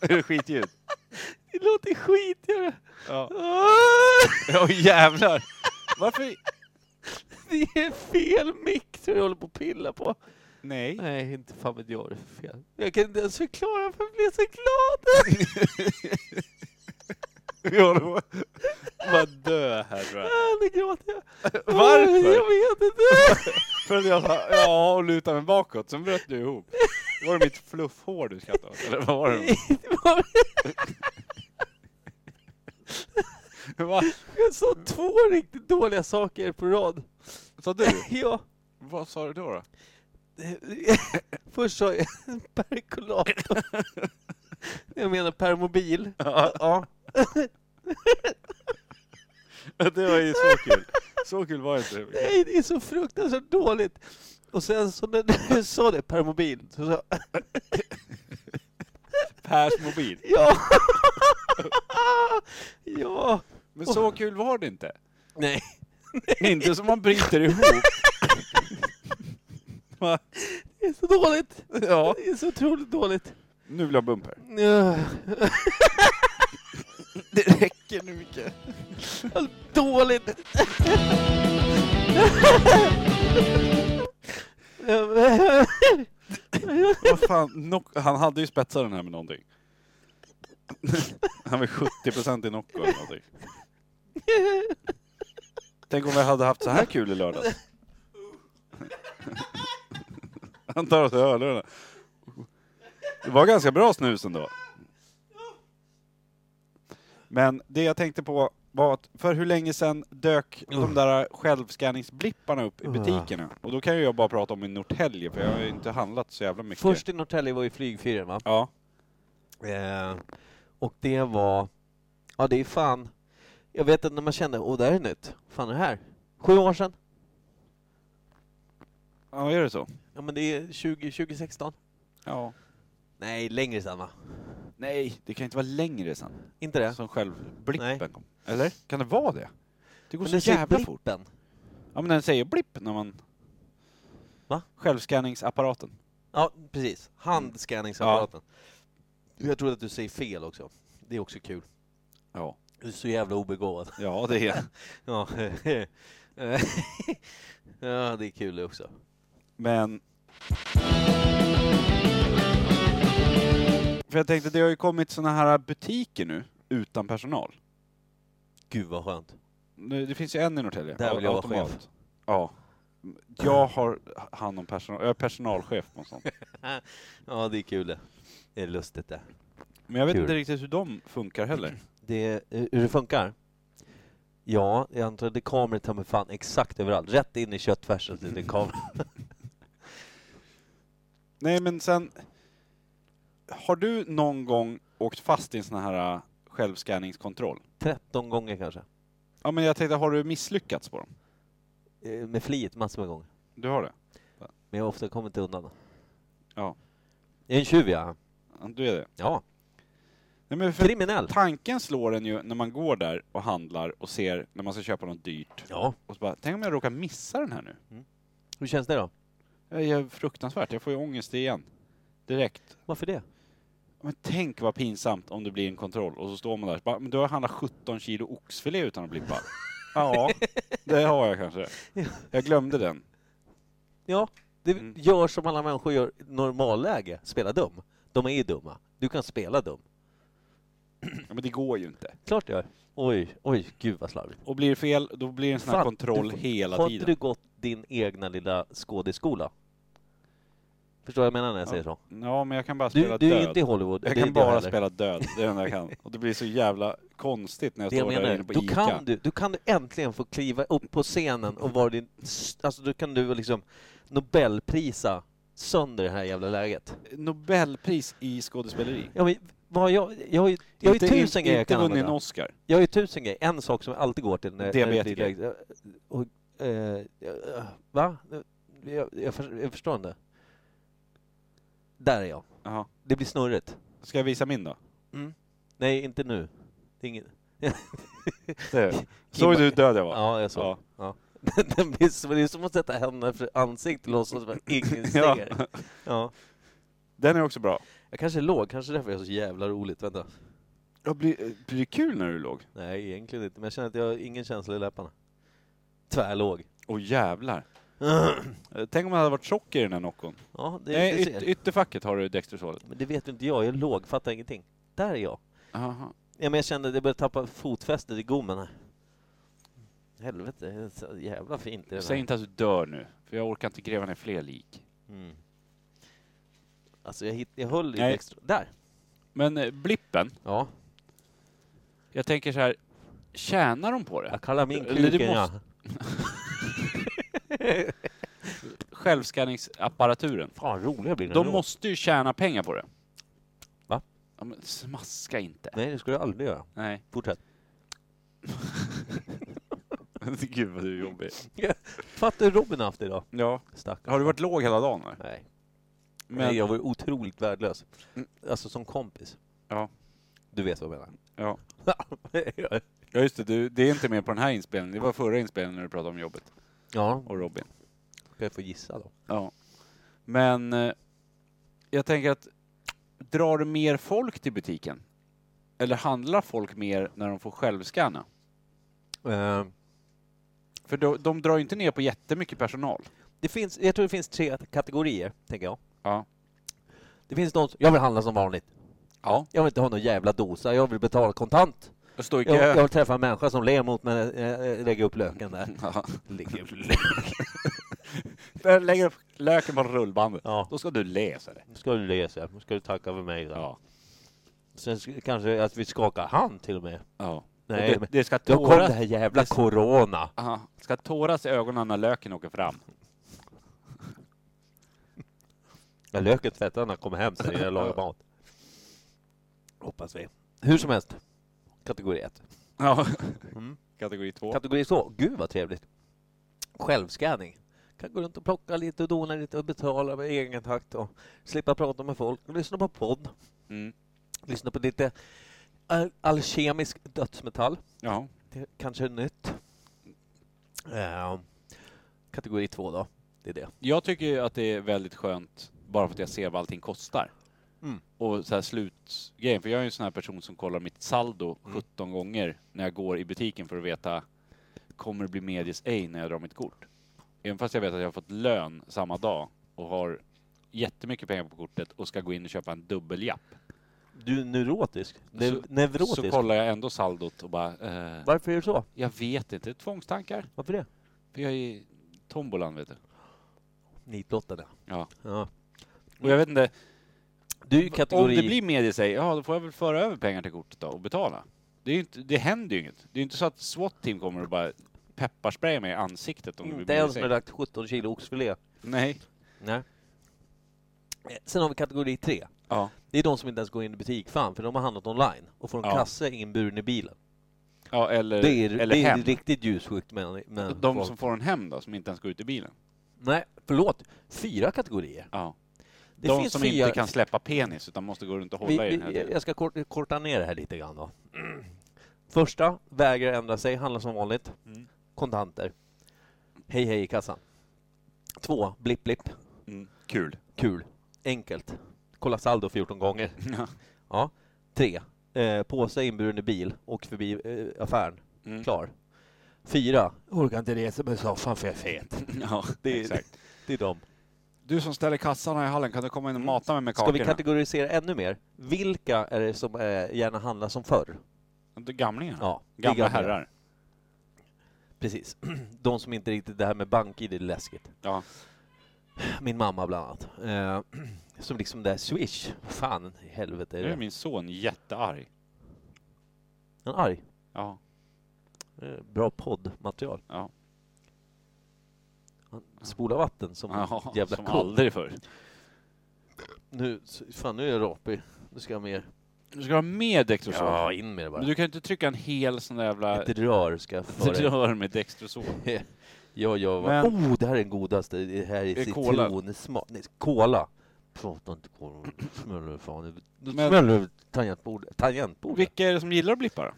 Speaker 2: Är det skitljud?
Speaker 1: Det låter skit. Ja.
Speaker 2: Ja.
Speaker 1: Ah,
Speaker 2: Åh jävlar! Varför?
Speaker 1: Det är fel mick som jag håller på att pilla på.
Speaker 2: Nej.
Speaker 1: Nej, inte fan vet jag vad det är för fel. Jag kan inte ens förklara varför jag blev så glad.
Speaker 2: Vi håller på att bara dö här tror jag.
Speaker 1: Ah, Nu gråter jag.
Speaker 2: Varför?
Speaker 1: Jag vet inte.
Speaker 2: För att jag sa ja och lutade mig bakåt, sen bröt du ihop. Var det mitt fluffhår du skrattade åt? Eller vad var det?
Speaker 1: Det var
Speaker 2: Va?
Speaker 1: Jag sa två riktigt dåliga saker på rad.
Speaker 2: Sa du?
Speaker 1: Ja.
Speaker 2: Vad sa du då? då?
Speaker 1: Först sa jag perkulator. Jag menar permobil.
Speaker 2: Ja. det var ju så kul. Så kul var det inte.
Speaker 1: Nej, det är så fruktansvärt dåligt. Och sen så när du sa det, permobil, så sa jag
Speaker 2: Pers mobil.
Speaker 1: ja. Ja.
Speaker 2: Men så kul var det inte.
Speaker 1: Nej.
Speaker 2: Inte som man bryter ihop. Va?
Speaker 1: Det är så dåligt.
Speaker 2: Ja.
Speaker 1: Det är så otroligt dåligt.
Speaker 2: Nu vill jag ha bumper.
Speaker 1: Det räcker nu Micke. Dåligt!
Speaker 2: Vad fan, Noc- han hade ju spetsat den här med någonting. Han var 70% i Nocco eller någonting. Tänk om vi hade haft så här kul i lördags. Han tar oss i hörlurarna. Det var ganska bra snus ändå. Men det jag tänkte på var att för hur länge sedan dök de där självskanningsblipparna upp i butikerna? Och då kan ju jag bara prata om i Norrtälje för jag har ju inte handlat så jävla mycket.
Speaker 1: Först i Norrtälje var ju flygfyren va?
Speaker 2: Ja.
Speaker 1: Eh, och det var... Ja det är fan... Jag vet att när man kände, åh det här är nytt. Fan är det här? Sju år sedan?
Speaker 2: Ja, är det så?
Speaker 1: Ja men det är 20, 2016.
Speaker 2: Ja.
Speaker 1: Nej, längre sedan va?
Speaker 2: Nej, det kan inte vara längre sen.
Speaker 1: Inte det?
Speaker 2: Som själv blippen
Speaker 1: Nej.
Speaker 2: kom. Eller? Kan det vara det? Det går
Speaker 1: Men
Speaker 2: så
Speaker 1: det säger
Speaker 2: jävla fort.
Speaker 1: blippen.
Speaker 2: Ja men den säger blipp när man...
Speaker 1: Va?
Speaker 2: Självscanningsapparaten.
Speaker 1: Ja, precis. Handscanningsapparaten. Jag tror att du säger fel också. Det är också kul.
Speaker 2: Ja.
Speaker 1: Du är så jävla obegåvad.
Speaker 2: Ja det är
Speaker 1: Ja, ja det är kul det också.
Speaker 2: Men... För jag tänkte, det har ju kommit såna här butiker nu, utan personal.
Speaker 1: Gud vad skönt.
Speaker 2: Nu- Det finns ju en i Norrtälje.
Speaker 1: Där vill jag vara
Speaker 2: Automat.
Speaker 1: chef.
Speaker 2: Ja. Jag har hand om personal, jag är personalchef på något sånt.
Speaker 1: Ja, det är kul det. Det är lustigt det.
Speaker 2: Men jag vet
Speaker 1: Kul.
Speaker 2: inte riktigt hur de funkar heller.
Speaker 1: det eh, hur det funkar? Ja, jag antar att det är kameror tar mig fan exakt överallt. Rätt in i köttfärsen till den kameran.
Speaker 2: Nej men sen, har du någon gång åkt fast i en sån här äh, självscanningskontroll?
Speaker 1: 13 gånger kanske.
Speaker 2: Ja men jag tänkte, har du misslyckats på dem?
Speaker 1: Eh, Med flit massor med gånger.
Speaker 2: Du har det?
Speaker 1: Men jag har ofta kommit undan.
Speaker 2: Ja.
Speaker 1: Jag är en tjuv ja.
Speaker 2: Ja, Du är det?
Speaker 1: Ja,
Speaker 2: Nej, men för
Speaker 1: kriminell.
Speaker 2: tanken slår en ju när man går där och handlar och ser när man ska köpa något dyrt.
Speaker 1: Ja,
Speaker 2: Och så bara, tänk om jag råkar missa den här nu?
Speaker 1: hur känns det då?
Speaker 2: Det är fruktansvärt, jag får ju ångest igen. Direkt.
Speaker 1: Varför det?
Speaker 2: Men tänk vad pinsamt om det blir en kontroll och så står man där och bara, men du har handlat 17 kilo oxfilé utan att blippa. ja, det har jag kanske. Jag glömde den.
Speaker 1: Ja, det
Speaker 2: Mm.
Speaker 1: gör som alla människor gör i normalläge. Spela dum. De är ju dumma. Du kan spela dum.
Speaker 2: Ja, men det går ju inte.
Speaker 1: Klart du gör. Oj, oj, gud vad slarvigt.
Speaker 2: Och blir det fel, då blir det en sån här
Speaker 1: Fan,
Speaker 2: kontroll
Speaker 1: du-
Speaker 2: hela
Speaker 1: Har
Speaker 2: tiden.
Speaker 1: inte du gått din egna lilla skådisskola? Förstår vad jag menar när jag säger så?
Speaker 2: Ja, men jag kan bara spela
Speaker 1: Du, du är
Speaker 2: död.
Speaker 1: ju inte i Hollywood.
Speaker 2: Jag
Speaker 1: det är
Speaker 2: kan
Speaker 1: inte jag
Speaker 2: bara
Speaker 1: heller.
Speaker 2: spela död, det är det enda jag kan. Och det blir så jävla konstigt när jag
Speaker 1: det jag
Speaker 2: står där
Speaker 1: menar.
Speaker 2: inne på
Speaker 1: Då
Speaker 2: ICA.
Speaker 1: kan, du, då kan du äntligen få kliva upp på scenen och vara din... Alltså då kan du liksom Nobelprisa sönder det här jävla läget.
Speaker 2: Nobelpris i skådespeleri.
Speaker 1: Ja, men, vad jag, jag har ju, jag har ju
Speaker 2: Inte-
Speaker 1: tusen grejer jag
Speaker 2: Inte
Speaker 1: kan
Speaker 2: vunnit en
Speaker 1: använda.
Speaker 2: Oscar.
Speaker 1: Jag har ju tusen grejer. En sak som jag alltid går till när, när det blir
Speaker 2: Diabetiker.
Speaker 1: läge- och, eh, eh, Va? Jag, jag, för- jag förstår inte. Där är jag.
Speaker 2: Jaha.
Speaker 1: Det blir snurrigt.
Speaker 2: Ska jag visa min då?
Speaker 1: Nej, inte nu. Det är inget.
Speaker 2: Det. Såg du hur död jag var?
Speaker 1: Ja, jag såg.
Speaker 2: Ja.
Speaker 1: Ja. Den blir så, det är som att sätta händerna för ansiktet och låtsas som att ingen
Speaker 2: Ja.
Speaker 1: ser. Ja.
Speaker 2: Den är också bra.
Speaker 1: Jag kanske är låg, kanske därför jag är så jävla roligt. Vänta.
Speaker 2: Ja, blir, blir det kul när du låg?
Speaker 1: Nej, egentligen inte. Men jag känner att jag har ingen känsla i läpparna. Tvärlåg.
Speaker 2: Åh jävlar. Eh, Tänk om man hade varit tjock i den här nockon.
Speaker 1: Ja, det,
Speaker 2: Nej,
Speaker 1: det
Speaker 2: yt,
Speaker 1: ser.
Speaker 2: ytterfacket har du Dextrosolet.
Speaker 1: Men det vet ju inte jag, jag är låg, fattar ingenting. Där är jag.
Speaker 2: Jaha.
Speaker 1: Ja, men jag kände att jag började tappa fotfästet i gommen här. Helvete, det är så jävla fint. i den här.
Speaker 2: Säg inte att du dör nu, för jag orkar inte gräva ner fler lik.
Speaker 1: Mm. Alltså jag, hitt, jag höll i
Speaker 2: Nej.
Speaker 1: extra... Där!
Speaker 2: Men eh, blippen,
Speaker 1: Ja,
Speaker 2: jag tänker så här, tjänar de på det?
Speaker 1: jag kallar min
Speaker 2: Eller det
Speaker 1: kuken ja.
Speaker 2: Självskanningsapparaturen.
Speaker 1: Fan roliga blir den
Speaker 2: De
Speaker 1: då.
Speaker 2: måste ju tjäna pengar på det.
Speaker 1: Va?
Speaker 2: Ja, men smaska inte.
Speaker 1: Nej, det skulle jag aldrig göra.
Speaker 2: Nej.
Speaker 1: Fortsätt.
Speaker 2: Gud vad du är jobbig.
Speaker 1: Fattar hur Robin har haft det idag.
Speaker 2: Ja.
Speaker 1: Stackars.
Speaker 2: Har du varit låg hela dagen? eller?
Speaker 1: Nej.
Speaker 2: Men,
Speaker 1: Nej, jag var ju otroligt värdelös.
Speaker 2: Mm.
Speaker 1: Alltså som kompis.
Speaker 2: Ja.
Speaker 1: Du vet vad jag menar.
Speaker 2: ja. ja, just det. Du, det är inte med på den här inspelningen. Det var förra inspelningen när du pratade om jobbet
Speaker 1: ja,
Speaker 2: och Robin.
Speaker 1: ska jag få gissa då?
Speaker 2: Ja. Men eh, jag tänker att drar det mer folk till butiken? Eller handlar folk mer när de får självscanna?
Speaker 1: Eh,
Speaker 2: För de, de drar ju inte ner på jättemycket personal.
Speaker 1: det finns, jag tror det finns tre kategorier, tänker jag.
Speaker 2: Ja.
Speaker 1: Det finns de som, jag vill handla som vanligt.
Speaker 2: Ja.
Speaker 1: Jag vill inte ha någon jävla dosa, jag vill betala kontant.
Speaker 2: Och står i
Speaker 1: Jag,
Speaker 2: kö.
Speaker 1: jag vill träffa en människa som ler mot mig när jag lägger upp löken där.
Speaker 2: Ja.
Speaker 1: Lägger upp löken.
Speaker 2: Jag lägger upp löken på rullbandet.
Speaker 1: Ja,
Speaker 2: Då ska du läsa det.
Speaker 1: nu ska du le så här. nu ska du tacka för mig. Då.
Speaker 2: Ja.
Speaker 1: Sen sk- kanske att vi skakar hand till och med.
Speaker 2: ja.
Speaker 1: Nej,
Speaker 2: och det,
Speaker 1: men
Speaker 2: det ska,
Speaker 1: då kom det
Speaker 2: tåras,
Speaker 1: här jävla corona.
Speaker 2: aha, ska tåras i ögonen när löken åker fram.
Speaker 1: Jag löken tvättade när jag kom hem sen innan jag lagade mat. Hoppas vi. Hur som helst. Kategori 1.
Speaker 2: Ja.
Speaker 1: Mm.
Speaker 2: Kategori två.
Speaker 1: Kategori så. Gud vad trevligt. Självskanning. Kan gå runt och plocka lite och dona lite och betala med egen takt och slippa prata med folk och lyssna på podd.
Speaker 2: Mm.
Speaker 1: Lyssna på lite al- alkemisk dödsmetall.
Speaker 2: Ja.
Speaker 1: Det kanske är nytt. Eh, kategori två då. Det är det.
Speaker 2: Jag tycker ju att det är väldigt skönt bara för att jag ser vad allting kostar.
Speaker 1: Mm.
Speaker 2: Och så här slutgrejen, för jag är ju en sån här person som kollar mitt saldo 17 gånger när jag går i butiken för att veta, kommer det bli medis ej när jag drar mitt kort? Även fast jag vet att jag har fått lön samma dag och har jättemycket pengar på kortet och ska gå in och köpa en dubbeljapp.
Speaker 1: Du är neurotisk.
Speaker 2: Så-
Speaker 1: Ne- neurotisk.
Speaker 2: Alltså, Så kollar jag ändå saldot och bara, eh,
Speaker 1: Varför är du så?
Speaker 2: jag vet inte, tvångstankar.
Speaker 1: Varför det?
Speaker 2: För jag är i tombolan vet du.
Speaker 1: Nitlottade.
Speaker 2: Ja.
Speaker 1: Ja.
Speaker 2: Och jag vet inte,
Speaker 1: Du är ju
Speaker 2: Om
Speaker 1: kategori...
Speaker 2: det blir med i sig, ja då får jag väl föra över pengar till kortet då och betala. Det, är ju inte, det händer ju inget. Det är ju inte så att SWAT-team kommer och bara pepparsprayar mig i ansiktet om det
Speaker 1: Inte
Speaker 2: blir med i
Speaker 1: ens
Speaker 2: sig.
Speaker 1: när du lagt 17 kilo oxfilé.
Speaker 2: Nej.
Speaker 1: Nej. Eh, Sen har vi kategori tre.
Speaker 2: Ja.
Speaker 1: Det är de som inte ens går in i butik fan, för de har handlat online och får en
Speaker 2: Ja.
Speaker 1: kasse inburen i bilen.
Speaker 2: ja eller,
Speaker 1: Det är,
Speaker 2: eller
Speaker 1: det är
Speaker 2: hem.
Speaker 1: riktigt ljussjukt men, men
Speaker 2: De som får en hem då, som inte ens går ut i bilen.
Speaker 1: Nej, förlåt. Fyra kategorier.
Speaker 2: Ja.
Speaker 1: Det
Speaker 2: de
Speaker 1: finns
Speaker 2: som
Speaker 1: fyra...
Speaker 2: inte kan släppa penis utan måste gå runt och hålla
Speaker 1: vi,
Speaker 2: i den här
Speaker 1: vi,
Speaker 2: tiden.
Speaker 1: Jag ska kort, korta ner det här lite grann då. Första, vägrar ändra sig, handlar som vanligt.
Speaker 2: Mm.
Speaker 1: Kontanter. Hej hej i kassan. Två, blipp blipp.
Speaker 2: Mm. Kul.
Speaker 1: Kul. Enkelt. Kolla saldo 14 gånger.
Speaker 2: Ja.
Speaker 1: Ja. Tre. Eh, påse inburen i bil och förbi eh, affären.
Speaker 2: Mm.
Speaker 1: Klar. Fyra. Orkar inte resa mig i soffan för jag är fet.
Speaker 2: Ja,
Speaker 1: Det är-
Speaker 2: exakt.
Speaker 1: Det är dem.
Speaker 2: Du som ställer kassan här i hallen, kan du komma in och mata mig med
Speaker 1: Mm. Ska vi
Speaker 2: kakorna?
Speaker 1: kategorisera ännu mer? Vilka är det som eh, gärna handlar som förr?
Speaker 2: De Gamlingarna?
Speaker 1: Ja, det är
Speaker 2: Gamla herrar?
Speaker 1: Precis. De som inte riktigt, det här med bank-id är läskigt.
Speaker 2: Ja.
Speaker 1: Min mamma bland annat. Eh, som liksom det här swish. Fan i helvete. Är
Speaker 2: Nu är
Speaker 1: det?
Speaker 2: min son jättearg.
Speaker 1: Han är arg.
Speaker 2: Ja.
Speaker 1: Eh, Bra poddmaterial.
Speaker 2: Ja.
Speaker 1: Han spolar vatten som en jävla
Speaker 2: som
Speaker 1: koll.
Speaker 2: aldrig förr.
Speaker 1: Nu, fan nu är jag rapig. Nu ska jag mer.
Speaker 2: Du ska ha med Dextrosol.
Speaker 1: Ja, in med det bara.
Speaker 2: men du kan ju inte trycka en hel sån där jävla
Speaker 1: Ett rör ska jag få dig.
Speaker 2: rör med Dextrosol.
Speaker 1: Ja, jag var...
Speaker 2: Men-
Speaker 1: Oh, det här är den godaste. Det här
Speaker 2: Det
Speaker 1: är
Speaker 2: är cola.
Speaker 1: citronsmak. Nej, cola. Prata inte cola. Då Smäller du fan över- då
Speaker 2: Men-
Speaker 1: smäller du över tangentbordet. Tangentbordet?
Speaker 2: Vilka är det som gillar att blippa då?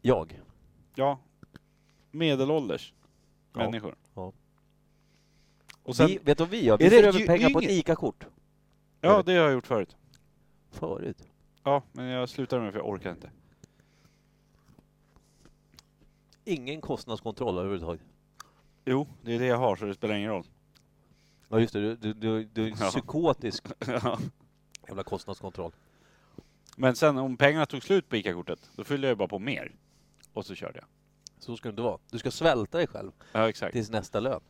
Speaker 1: Jag.
Speaker 2: Ja. Medelålders
Speaker 1: Ja.
Speaker 2: människor.
Speaker 1: Ja.
Speaker 2: Och sen,
Speaker 1: vi, vet du vad vi gör? Vi
Speaker 2: Är det
Speaker 1: får över
Speaker 2: ju-
Speaker 1: pengar
Speaker 2: det är
Speaker 1: på ett
Speaker 2: inget-
Speaker 1: ICA-kort.
Speaker 2: ja, det har jag gjort förut.
Speaker 1: Förut.
Speaker 2: Ja, men jag slutar med det för jag orkar inte.
Speaker 1: Ingen kostnadskontroll överhuvudtaget.
Speaker 2: Jo, det är det jag har så det spelar ingen roll.
Speaker 1: Ja, just det. Du, du, du, du är en
Speaker 2: Ja.
Speaker 1: psykotisk
Speaker 2: Ja.
Speaker 1: jävla kostnadskontroll.
Speaker 2: men sen om pengarna tog slut på ICA-kortet, då fyllde jag bara på mer. Och så körde jag.
Speaker 1: Så ska det inte vara. Du ska svälta dig själv
Speaker 2: Ja, exakt.
Speaker 1: tills nästa lön.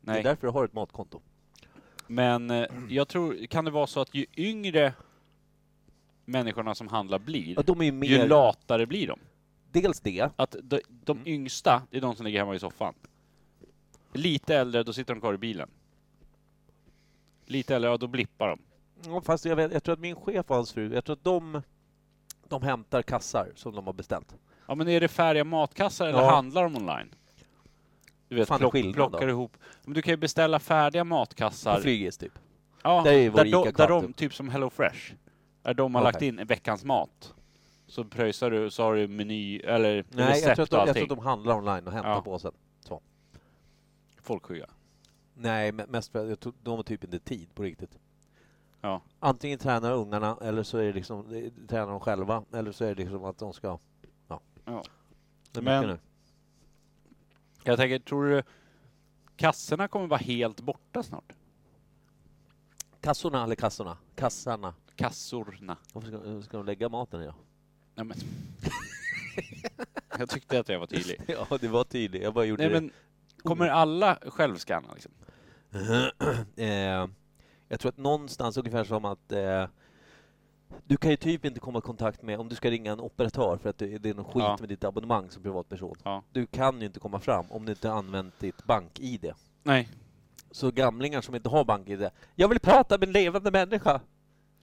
Speaker 1: Det
Speaker 2: Nej.
Speaker 1: är därför du har ett matkonto.
Speaker 2: Men eh, jag tror, kan det vara så att ju yngre människorna som handlar blir,
Speaker 1: Ja, de är ju
Speaker 2: ju
Speaker 1: mer...
Speaker 2: latare blir de.
Speaker 1: dels det.
Speaker 2: Att de, de
Speaker 1: Mm.
Speaker 2: yngsta, det är de som ligger hemma i soffan. Lite äldre, då sitter de kvar i bilen. Lite äldre, ja då blippar de.
Speaker 1: Ja, fast jag, vet, jag tror att min chef och hans fru, jag tror att de, de hämtar kassar som de har beställt.
Speaker 2: Ja men är det färdiga matkassar eller
Speaker 1: Ja.
Speaker 2: handlar de online? Du vet,
Speaker 1: Fan,
Speaker 2: plock,
Speaker 1: skillnad
Speaker 2: plockar
Speaker 1: då.
Speaker 2: ihop. Men du kan ju beställa färdiga matkassar.
Speaker 1: På Flygis typ.
Speaker 2: ja,
Speaker 1: där är vår
Speaker 2: där, de,
Speaker 1: Ica
Speaker 2: där de,
Speaker 1: Kvantum.
Speaker 2: typ som Hello Fresh. Där de har
Speaker 1: Okej.
Speaker 2: lagt in veckans mat. Så pröjsar du, så har du meny, eller
Speaker 1: Nej, jag
Speaker 2: recept
Speaker 1: tror, att
Speaker 2: och
Speaker 1: de, jag tror
Speaker 2: allting.
Speaker 1: att de handlar online och hämtar
Speaker 2: Ja.
Speaker 1: påsen.
Speaker 2: Folkskygga.
Speaker 1: Nej, me- mest för att jag tror, de har typ inte tid på riktigt.
Speaker 2: Ja.
Speaker 1: Antingen tränar ungarna eller så är det liksom, det- tränar de själva eller så är det liksom att de ska... Ja.
Speaker 2: Ja.
Speaker 1: Det är
Speaker 2: Men-
Speaker 1: mycket nu.
Speaker 2: Jag tänker, tror du kassorna kommer vara helt borta snart?
Speaker 1: Kassorna eller kassorna? Kassarna.
Speaker 2: Kassorna.
Speaker 1: Varför ska, hur ska de lägga maten i då?
Speaker 2: Nej, men. jag tyckte att jag var tydlig.
Speaker 1: Ja, det var tydligt. Jag bara gjorde
Speaker 2: Nej,
Speaker 1: det.
Speaker 2: men kommer alla självskanna liksom?
Speaker 1: eh, jag tror att någonstans ungefär som att eh, du kan ju typ inte komma i kontakt med, om du ska ringa en operatör för att du, det är någon skit
Speaker 2: Ja.
Speaker 1: med ditt abonnemang som privatperson.
Speaker 2: Ja.
Speaker 1: Du kan ju inte komma fram om du inte har använt ditt bank-id.
Speaker 2: Nej.
Speaker 1: Så gamlingar som inte har bank-id, jag vill prata med en levande människa!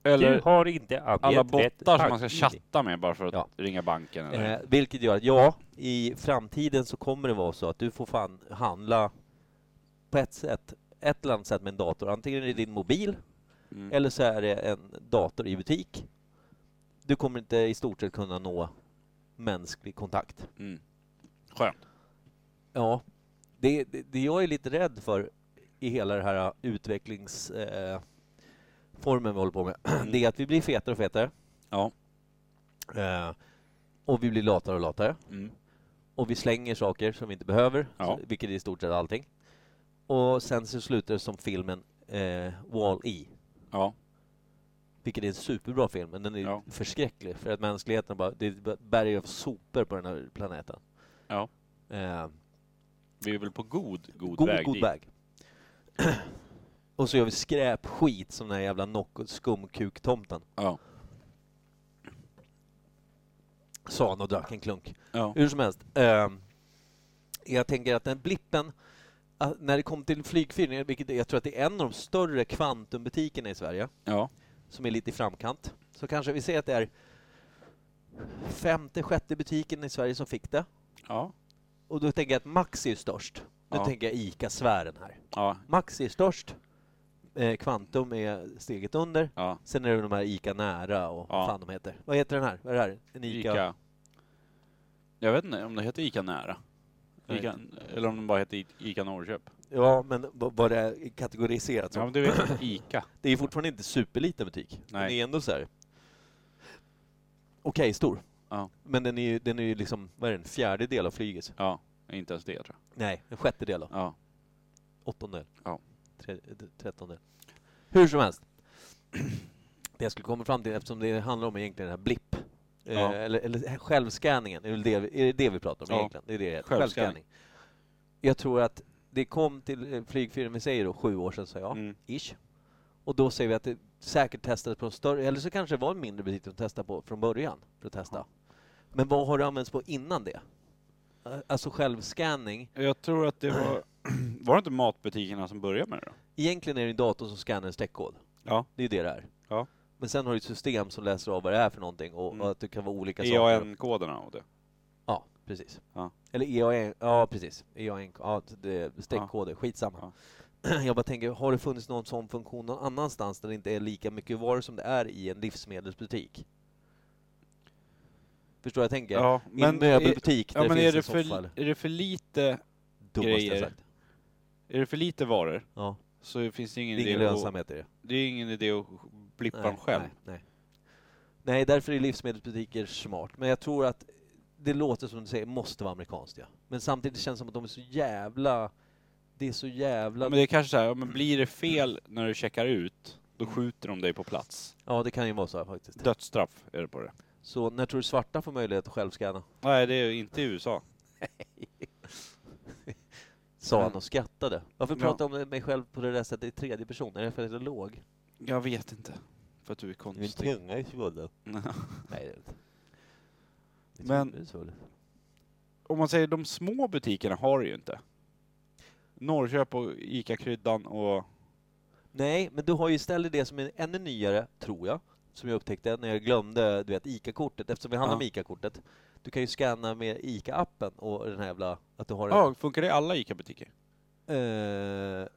Speaker 2: Eller
Speaker 6: Du har inte angett
Speaker 2: alla
Speaker 6: rätt
Speaker 2: bottar som man ska
Speaker 6: tankning.
Speaker 2: chatta med bara för att
Speaker 1: Ja.
Speaker 2: ringa banken eller?
Speaker 1: Eh, vilket gör att ja, i framtiden så kommer det vara så att du får fan handla på ett sätt, ett eller annat sätt med en dator. Antingen är det din mobil
Speaker 2: Mm.
Speaker 1: eller så är det en dator i butik. Du kommer inte i stort sett kunna nå mänsklig kontakt.
Speaker 2: Mm. Skönt.
Speaker 1: Ja, det, det, det jag är lite rädd för i hela den här utvecklingsformen eh, formen vi håller på med, det är att vi blir fetare och fetare.
Speaker 2: Ja.
Speaker 1: Eh, och vi blir latare och latare.
Speaker 2: Mm.
Speaker 1: och vi slänger saker som vi inte behöver,
Speaker 2: Ja.
Speaker 1: så- vilket är i stort sett allting. Och sen så slutar det som filmen eh, Wall-E,
Speaker 2: Ja.
Speaker 1: vilket är en superbra film, men den är
Speaker 2: Ja.
Speaker 1: förskräcklig för att mänskligheten bara, det är ett berg av sopor på den här planeten.
Speaker 2: Ja.
Speaker 1: Eh,
Speaker 2: Vi är väl på god, god,
Speaker 1: god,
Speaker 2: väg
Speaker 1: god
Speaker 2: dit.
Speaker 1: väg. och så gör vi skräpskit som den här jävla knock- skumkuktomten.
Speaker 2: Ja.
Speaker 1: Sa han och drack en klunk.
Speaker 2: Ja.
Speaker 1: Hur som helst. ehm, jag tänker att den blippen, att när det kom till flygfyrningen, vilket jag tror att det är en av de större kvantumbutikerna i Sverige,
Speaker 2: ja.
Speaker 1: som är lite i framkant, så kanske vi ser att det är femte, sjätte butiken i Sverige som fick det.
Speaker 2: Ja.
Speaker 1: Och då tänker jag att Maxi är störst. Nu
Speaker 2: Ja.
Speaker 1: tänker jag ICA-sfären här.
Speaker 2: Ja.
Speaker 1: Maxi är störst, eh, Kvantum är steget under,
Speaker 2: Ja.
Speaker 1: sen är det de här ICA Nära och
Speaker 2: Ja.
Speaker 1: vad fan de heter. Vad heter den här? Vad är det här? En ICA?
Speaker 2: Ica. Jag vet inte om det heter Ica Nära.
Speaker 1: Jag vet
Speaker 2: Ica, eller om de bara heter Ica Norrköp.
Speaker 1: Ja, men v- vad det är kategoriserat som.
Speaker 2: Ja, men du vet Ica.
Speaker 1: Det är fortfarande inte superliten butik. Den
Speaker 2: Nej.
Speaker 1: är ändå så här. Okej, stor.
Speaker 2: Ja.
Speaker 1: Men den är ju, den är ju liksom, vad är det, en fjärdedel av flygets?
Speaker 2: Ja, inte ens det tror
Speaker 1: Nej, en sjättedel då.
Speaker 2: jag. Ja.
Speaker 1: Åttondel.
Speaker 2: Ja.
Speaker 1: Tre, eh, trettondel. Hur som helst. Det jag skulle komma fram till, eftersom det handlar om egentligen den här blipp, eh,
Speaker 2: Ja.
Speaker 1: eller, eller självscanningen, är, väl det, vi- är det det vi pratar om
Speaker 2: Ja.
Speaker 1: egentligen? Det är det det heter.
Speaker 2: Självscanning.
Speaker 1: Jag tror att det kom till eh, flygfyren, vi säger då sju år sedan, sa jag,
Speaker 2: Mm.
Speaker 1: ish. Och då säger vi att det säkert testades på en större, eller så kanske det var en mindre butik de testade på från början för att testa. Men vad har det använts på innan det? Eh, Alltså självscanning,
Speaker 2: Jag tror att det var... Var det inte matbutikerna som började med det då?
Speaker 1: egentligen är det en dator som scannar en streckkod.
Speaker 2: Ja.
Speaker 1: Det är det det är.
Speaker 2: Ja.
Speaker 1: Men sen har du ett system som läser av vad det är för någonting och,
Speaker 2: Mm.
Speaker 1: och att det kan vara olika saker.
Speaker 2: EAN-koderna E och det.
Speaker 1: Ja, precis.
Speaker 2: Ja.
Speaker 1: Eller EAN, ja precis. EAN, ja, det- streckkoder, skitsamma. Jag bara tänker, har det funnits någon sån funktion någon annanstans där det inte är lika mycket varor som det är i en livsmedelsbutik? Förstår vad jag tänker? I en möbelbutik där
Speaker 2: ja, men
Speaker 1: det
Speaker 2: är,
Speaker 1: finns
Speaker 2: det
Speaker 1: en
Speaker 2: för,
Speaker 1: soffa. eller-
Speaker 2: är det för lite...
Speaker 1: Dummaste jag
Speaker 2: grejer.
Speaker 1: sagt.
Speaker 2: Är det för lite varor
Speaker 1: Ja,
Speaker 2: så finns det
Speaker 1: det
Speaker 2: ingen,
Speaker 1: är ingen
Speaker 2: idé att,
Speaker 1: lönsamhet i det.
Speaker 2: det är ingen idé att blippa dem själv.
Speaker 1: Nej, nej. nej, därför är livsmedelsbutiker smart. Men jag tror att det låter som du säger, måste vara amerikanskt ja. Men samtidigt känns det som att de är så jävla... Det är så jävla...
Speaker 2: Ja, men det är kanske så här, ja, men blir det fel när du checkar ut, då skjuter de dig på plats.
Speaker 1: Ja, det kan ju vara så här, faktiskt.
Speaker 2: Dödsstraff är det på det.
Speaker 1: Så när tror du svarta får möjlighet att självscanna?
Speaker 2: Nej, det är ju inte i USA.
Speaker 1: Sa han
Speaker 2: Mm.
Speaker 1: och skrattade. Varför
Speaker 2: Ja.
Speaker 1: pratar jag om mig själv på det där sättet i tredje person? Är det för att jag är låg?
Speaker 2: Jag vet inte. För att du är konstig.
Speaker 1: tunga i svullen. Nej, det är inte. Min
Speaker 2: Men-
Speaker 1: tunga är svullen.
Speaker 2: Om man säger de små butikerna har det ju inte. Norrköp och ICA-kryddan och...
Speaker 1: Nej, men du har ju istället det som är ännu nyare, tror jag, som jag upptäckte när jag glömde du vet, ICA-kortet, eftersom vi handlar
Speaker 2: Ja.
Speaker 1: med ICA-kortet. Du kan ju scanna med ICA-appen och den här jävla... Att du har en...
Speaker 2: Ja, funkar det i alla ICA-butiker?
Speaker 1: Eh,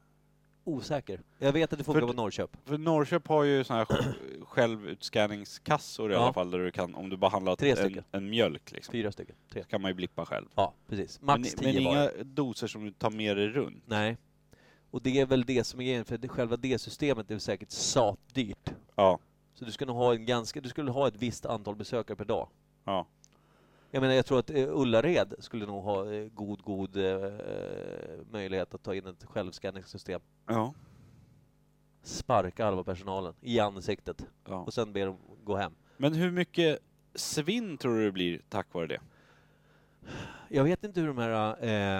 Speaker 1: osäker. Jag vet att det funkar
Speaker 2: För-
Speaker 1: på Norrköp.
Speaker 2: För Norrköp har ju såna här sj- självutskanningskassor i
Speaker 1: Ja.
Speaker 2: alla fall, där du kan, om du bara handlat
Speaker 1: Tre
Speaker 2: en,
Speaker 1: stycken.
Speaker 2: en mjölk liksom,
Speaker 1: Fyra stycken. Tre.
Speaker 2: så kan man ju blippa själv.
Speaker 1: Ja, precis. Max
Speaker 2: men, men
Speaker 1: tio var det.
Speaker 2: inga doser som du tar med dig runt.
Speaker 1: Nej. Och det är väl det som är grejen, för det- själva det systemet är säkert satdyrt.
Speaker 2: Ja.
Speaker 1: Så du skulle nog ha en ganska... Du skulle ha ett visst antal besökare per dag.
Speaker 2: Ja.
Speaker 1: Jag menar, jag tror att eh, Ullared skulle nog ha eh, god, god eh, möjlighet att ta in ett självskanningssystem.
Speaker 2: Ja.
Speaker 1: Sparka halva personalen i ansiktet
Speaker 2: ja.
Speaker 1: och sen be dem gå hem.
Speaker 2: Men hur mycket svinn tror du det blir tack vare det?
Speaker 1: Jag vet inte hur de här,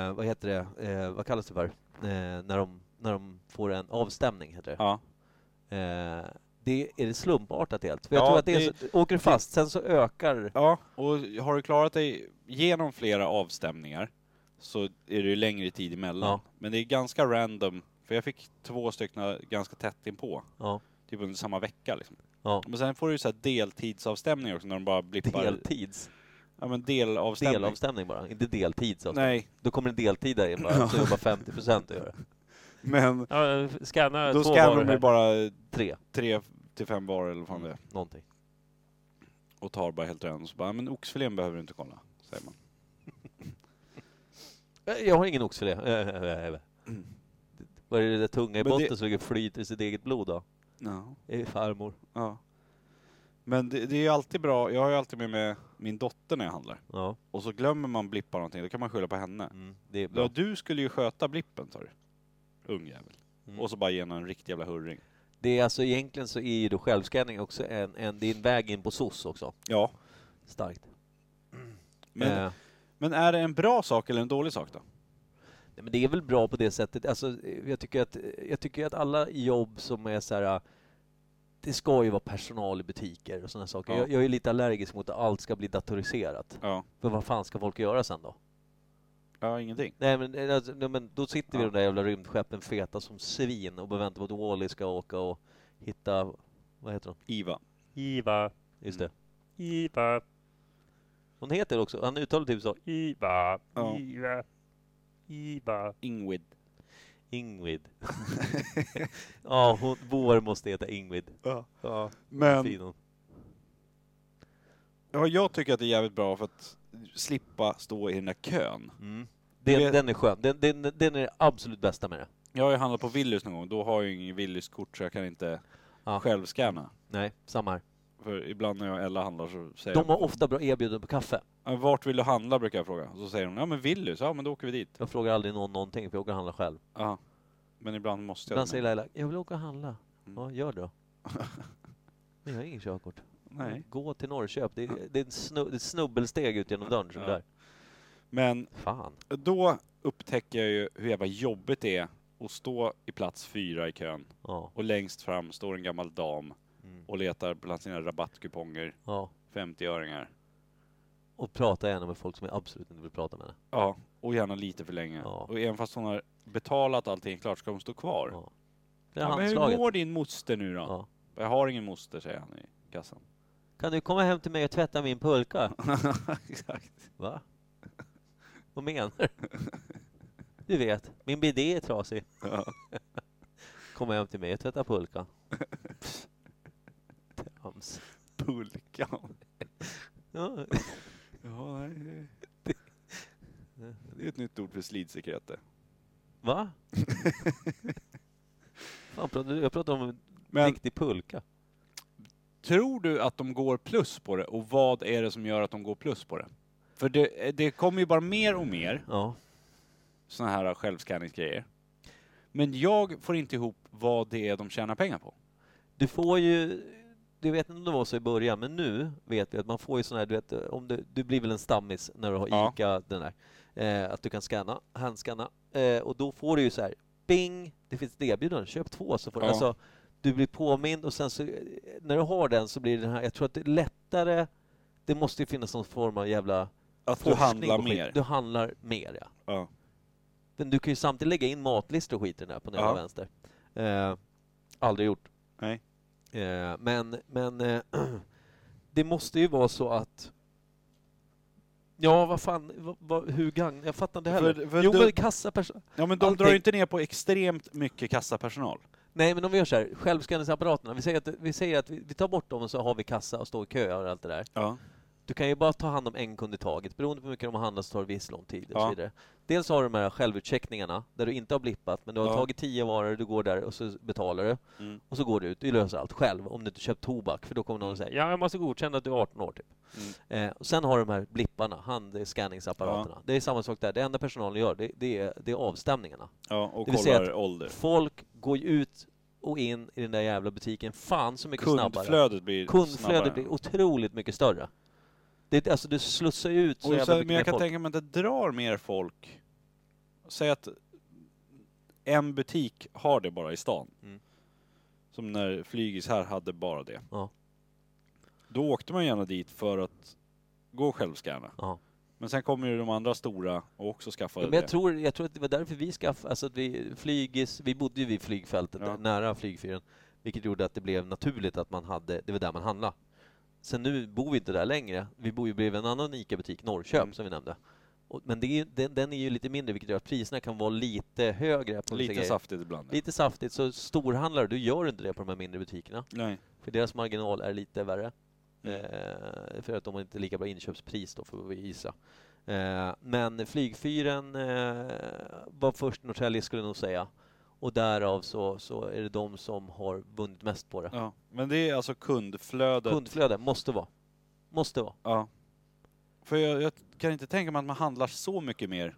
Speaker 1: eh, vad heter det, eh, vad kallas det för, eh, när, de, när de får en avstämning, heter det.
Speaker 2: Ja.
Speaker 1: Eh, det är det slumpartat helt? För jag
Speaker 2: Ja,
Speaker 1: tror att det, är så, åker du fast, sen så ökar...
Speaker 2: ja. Och har du klarat dig genom flera avstämningar så är det ju längre tid emellan.
Speaker 1: Ja.
Speaker 2: Men det är ganska random, för jag fick två stycken ganska tätt inpå.
Speaker 1: Ja.
Speaker 2: typ under samma vecka liksom.
Speaker 1: Ja.
Speaker 2: Men sen får du ju så här deltidsavstämningar också när de bara blippar.
Speaker 1: Deltids.
Speaker 2: Ja men delavstämning.
Speaker 1: Delavstämning bara, inte deltids. Nej.
Speaker 2: Nej,
Speaker 1: Då kommer en deltidare in bara, så jobbar 50 procent och gör
Speaker 2: men
Speaker 6: Ja, scanna
Speaker 2: då
Speaker 6: två
Speaker 2: skannar
Speaker 6: varor
Speaker 2: de
Speaker 6: här.
Speaker 2: ju bara
Speaker 1: tre,
Speaker 2: tre till fem varor eller vad fan det är.
Speaker 1: någonting.
Speaker 2: Och tar bara helt random och så bara, men oxfilén behöver du inte kolla. Säger man.
Speaker 1: Eh, Jag har ingen oxfilé. Eh, eh, eh. Vad är det där tunga i
Speaker 2: Men det-
Speaker 1: botten som ligger och flyter i sitt eget blod då?
Speaker 2: Ja.
Speaker 1: Det är farmor.
Speaker 2: ja. Men det, det är ju alltid bra, jag har ju alltid med mig min dotter när jag handlar.
Speaker 1: Ja,
Speaker 2: Och så glömmer man blippa någonting, då kan man skylla på henne.
Speaker 1: mm, det är
Speaker 2: Ja,
Speaker 1: bra.
Speaker 2: du skulle ju sköta blippen sa du. Ungjävel.
Speaker 1: Mm.
Speaker 2: Och så bara ge henne en riktig jävla hurring.
Speaker 1: Det är alltså egentligen så är ju då självscanning också en, en, det är en väg in på SOS också.
Speaker 2: Ja.
Speaker 1: Starkt.
Speaker 2: Men,
Speaker 1: Eh.
Speaker 2: men är det en bra sak eller en dålig sak då?
Speaker 1: Nej, men det är väl bra på det sättet. Alltså, eh, jag, tycker att, eh, jag tycker att alla jobb som är så här... eh, Det ska ju vara personal i butiker och sådana saker.
Speaker 2: Ja.
Speaker 1: Jag, jag är lite allergisk mot att allt ska bli datoriserat.
Speaker 2: Ja.
Speaker 1: För vad fan ska folk göra sen då?
Speaker 2: Ja, ingenting.
Speaker 1: Nej men, eh, alltså, nej, men då sitter vi i
Speaker 2: Ja.
Speaker 1: de där jävla rymdskeppen feta som svin och bara väntar på att Wally ska åka och hitta... Vad heter hon?
Speaker 2: IVA.
Speaker 6: Iva,
Speaker 1: Just det.
Speaker 2: Mm.
Speaker 6: Iva,
Speaker 1: Hon heter också... Han uttalar typ så.
Speaker 6: Iva,
Speaker 2: Ja.
Speaker 6: Iva, Iva.
Speaker 2: Ingrid.
Speaker 1: Ingrid. ja, hon, vår måste heta Ingrid.
Speaker 2: Ja.
Speaker 1: Ja,
Speaker 2: Men
Speaker 1: fin hon.
Speaker 2: ja, jag tycker att det är jävligt bra för att slippa stå i den där kön.
Speaker 1: Mm. Den,
Speaker 2: vet-
Speaker 1: den är skön. Den, den, den är det absolut bästa med det.
Speaker 2: Jag har ju handlat på Willys någon gång, då har jag ju ingen Willys-kort så jag kan inte
Speaker 1: Ja.
Speaker 2: självscanna.
Speaker 1: Nej, samma här.
Speaker 2: För ibland när jag och Ella handlar så säger
Speaker 1: De har ofta bra erbjudanden på kaffe.
Speaker 2: jag, "Ja, vart vill du handla brukar jag fråga. Och så säger hon, ja men Willys, ja men då åker vi dit.
Speaker 1: Jag frågar aldrig någon någonting för jag åker och handlar själv.
Speaker 2: Ja. Men ibland måste jag.
Speaker 1: Ibland säger
Speaker 2: det.
Speaker 1: Laila, jag vill åka och handla.
Speaker 2: Mm.
Speaker 1: Ja, gör det då. Men jag har ingen körkort.
Speaker 2: Nej.
Speaker 1: Mm.
Speaker 2: Mm.
Speaker 1: Gå till Norrköp. Det är, det är, en snu, det är ett snubbelsteg ut genom dörren. så
Speaker 2: Ja.
Speaker 1: Där.
Speaker 2: Men
Speaker 1: Fan.
Speaker 2: då upptäcker jag ju hur jävla jobbigt det är att stå i plats fyra i kön
Speaker 1: Ja.
Speaker 2: och längst fram står en gammal dam
Speaker 1: Mm.
Speaker 2: och letar bland sina rabattkuponger,
Speaker 1: ja.
Speaker 2: 50-öringar.
Speaker 1: Och prata gärna med folk som jag absolut inte vill prata med.
Speaker 2: Ja, och gärna lite för länge.
Speaker 1: Ja.
Speaker 2: Och även fast hon har betalat allting klart ska hon stå kvar.
Speaker 1: Ja. Det är
Speaker 2: Ja, men hur
Speaker 1: handslaget.
Speaker 2: mår din moster nu då?
Speaker 1: Ja.
Speaker 2: Jag har ingen moster, säger han i kassan.
Speaker 1: Kan du komma hem till mig och tvätta min pulka?
Speaker 2: Exakt.
Speaker 1: Va? Vad menar du? Du vet, min bidé är trasig.
Speaker 2: Ja.
Speaker 1: Kom hem till mig och tvätta pulka. Trams.
Speaker 2: Pulkan.
Speaker 1: Ja,
Speaker 2: Ja, nej. det- Det är ett nytt ord för slidsekreter.
Speaker 1: va? Fan, pratar du- jag pratar om en
Speaker 2: Men
Speaker 1: riktig pulka.
Speaker 2: tror du att de går plus på det och vad är det som gör att de går plus på det? För det, eh, det kommer ju bara mer och mer
Speaker 1: Ja.
Speaker 2: såna här självscanningsgrejer. Men jag får inte ihop vad det är de tjänar pengar på.
Speaker 1: Du får ju... Du vet inte om det var så i början, men nu vet vi att man får ju sån här, du vet, om du, du blir väl en stammis när du har
Speaker 2: Ja.
Speaker 1: ICA, den där, eh, att du kan scanna, handscanna, eh, och då får du ju så här, bing, det finns ett erbjudande, köp två så får du,
Speaker 2: Ja.
Speaker 1: alltså, du blir påmind och sen så, eh, när du har den så blir den här, jag tror att det är lättare, det måste ju finnas någon form av jävla
Speaker 2: Att du
Speaker 1: forskning
Speaker 2: handlar
Speaker 1: och skit.
Speaker 2: mer.
Speaker 1: Du handlar mer, ja.
Speaker 2: Ja.
Speaker 1: Men du kan ju samtidigt lägga in matlistor och skit i den här på den
Speaker 2: Ja.
Speaker 1: ja. vänster. Eh, aldrig gjort.
Speaker 2: Nej.
Speaker 1: Eh, men men eh, det måste ju vara så att Ja, vad fan, vad, vad, hur gagn... Jag fattar inte heller.
Speaker 2: För- för
Speaker 1: jo,
Speaker 2: du-
Speaker 1: men kassaperson...
Speaker 2: ja men de
Speaker 1: Allting.
Speaker 2: drar ju inte ner på extremt mycket kassapersonal.
Speaker 1: Nej, men om vi gör så här, självskanningsapparaterna, vi säger att, vi, säger att vi, vi tar bort dem och så har vi kassa och står i köer och allt det där.
Speaker 2: Ja.
Speaker 1: Du kan ju bara ta hand om en kund i taget. Beroende på hur mycket de har handlat så tar det viss lång tid och
Speaker 2: Ja.
Speaker 1: så vidare. Dels har du de här självutcheckningarna där du inte har blippat men du har
Speaker 2: Ja.
Speaker 1: tagit tio varor, du går där och så betalar du.
Speaker 2: Mm.
Speaker 1: Och så går du ut. Du löser allt själv om du inte köpt tobak för då kommer någon och säga ja, jag måste godkänna att du är 18 år typ. Eh, och sen har du de här blipparna, handscanningsapparaterna. Det är samma sak där. Det enda personalen gör det, det, är, det är avstämningarna.
Speaker 2: Ja, och
Speaker 1: Det vill säga
Speaker 2: kollar ålder.
Speaker 1: Folk går ju ut och in i den där jävla butiken fan så mycket snabbare.
Speaker 2: Kundflödet blir snabbare.
Speaker 1: Kundflödet blir otroligt mycket större. Det, alltså du slussar ju ut så
Speaker 2: Och
Speaker 1: jävla
Speaker 2: sen,
Speaker 1: mycket
Speaker 2: men
Speaker 1: mer
Speaker 2: jag kan
Speaker 1: folk.
Speaker 2: tänka mig att det drar mer folk. Säg att en butik har det bara i stan.
Speaker 1: Mm.
Speaker 2: Som när Flygis här hade bara det.
Speaker 1: Ja.
Speaker 2: Då åkte man gärna dit för att gå och självscanna.
Speaker 1: Ja.
Speaker 2: Men sen kommer ju de andra stora och också skaffade
Speaker 1: Ja, men jag
Speaker 2: det.
Speaker 1: tror, jag tror att det var därför vi skaffade, alltså att vi, flygis, vi bodde ju vid flygfältet,
Speaker 2: Ja.
Speaker 1: nära flygfyren. Vilket gjorde att det blev naturligt att man hade, det var där man handlade. Sen nu bor vi inte där längre. Vi bor ju bredvid en annan ICA-butik, Norrköp,
Speaker 2: Mm.
Speaker 1: som vi nämnde. Och, men det är, ju- den, den är ju lite mindre, vilket gör att priserna kan vara lite högre. På vissa
Speaker 2: Lite
Speaker 1: grejer.
Speaker 2: saftigt ibland. ja.
Speaker 1: Lite saftigt. Så storhandlare, du gör inte det på de här mindre butikerna.
Speaker 2: Nej.
Speaker 1: För deras marginal är lite värre.
Speaker 2: Mm.
Speaker 1: Eh, för att de har inte lika bra inköpspris då, får vi gissa. Eh, men flygfyren eh, var först Norrtälje skulle jag nog säga. Och därav så, så är det de som har vunnit mest på det.
Speaker 2: Ja. Men det är alltså kundflödet.
Speaker 1: Kundflöde, måste vara. Måste vara.
Speaker 2: Ja. För jag, jag kan inte tänka mig att man handlar så mycket mer.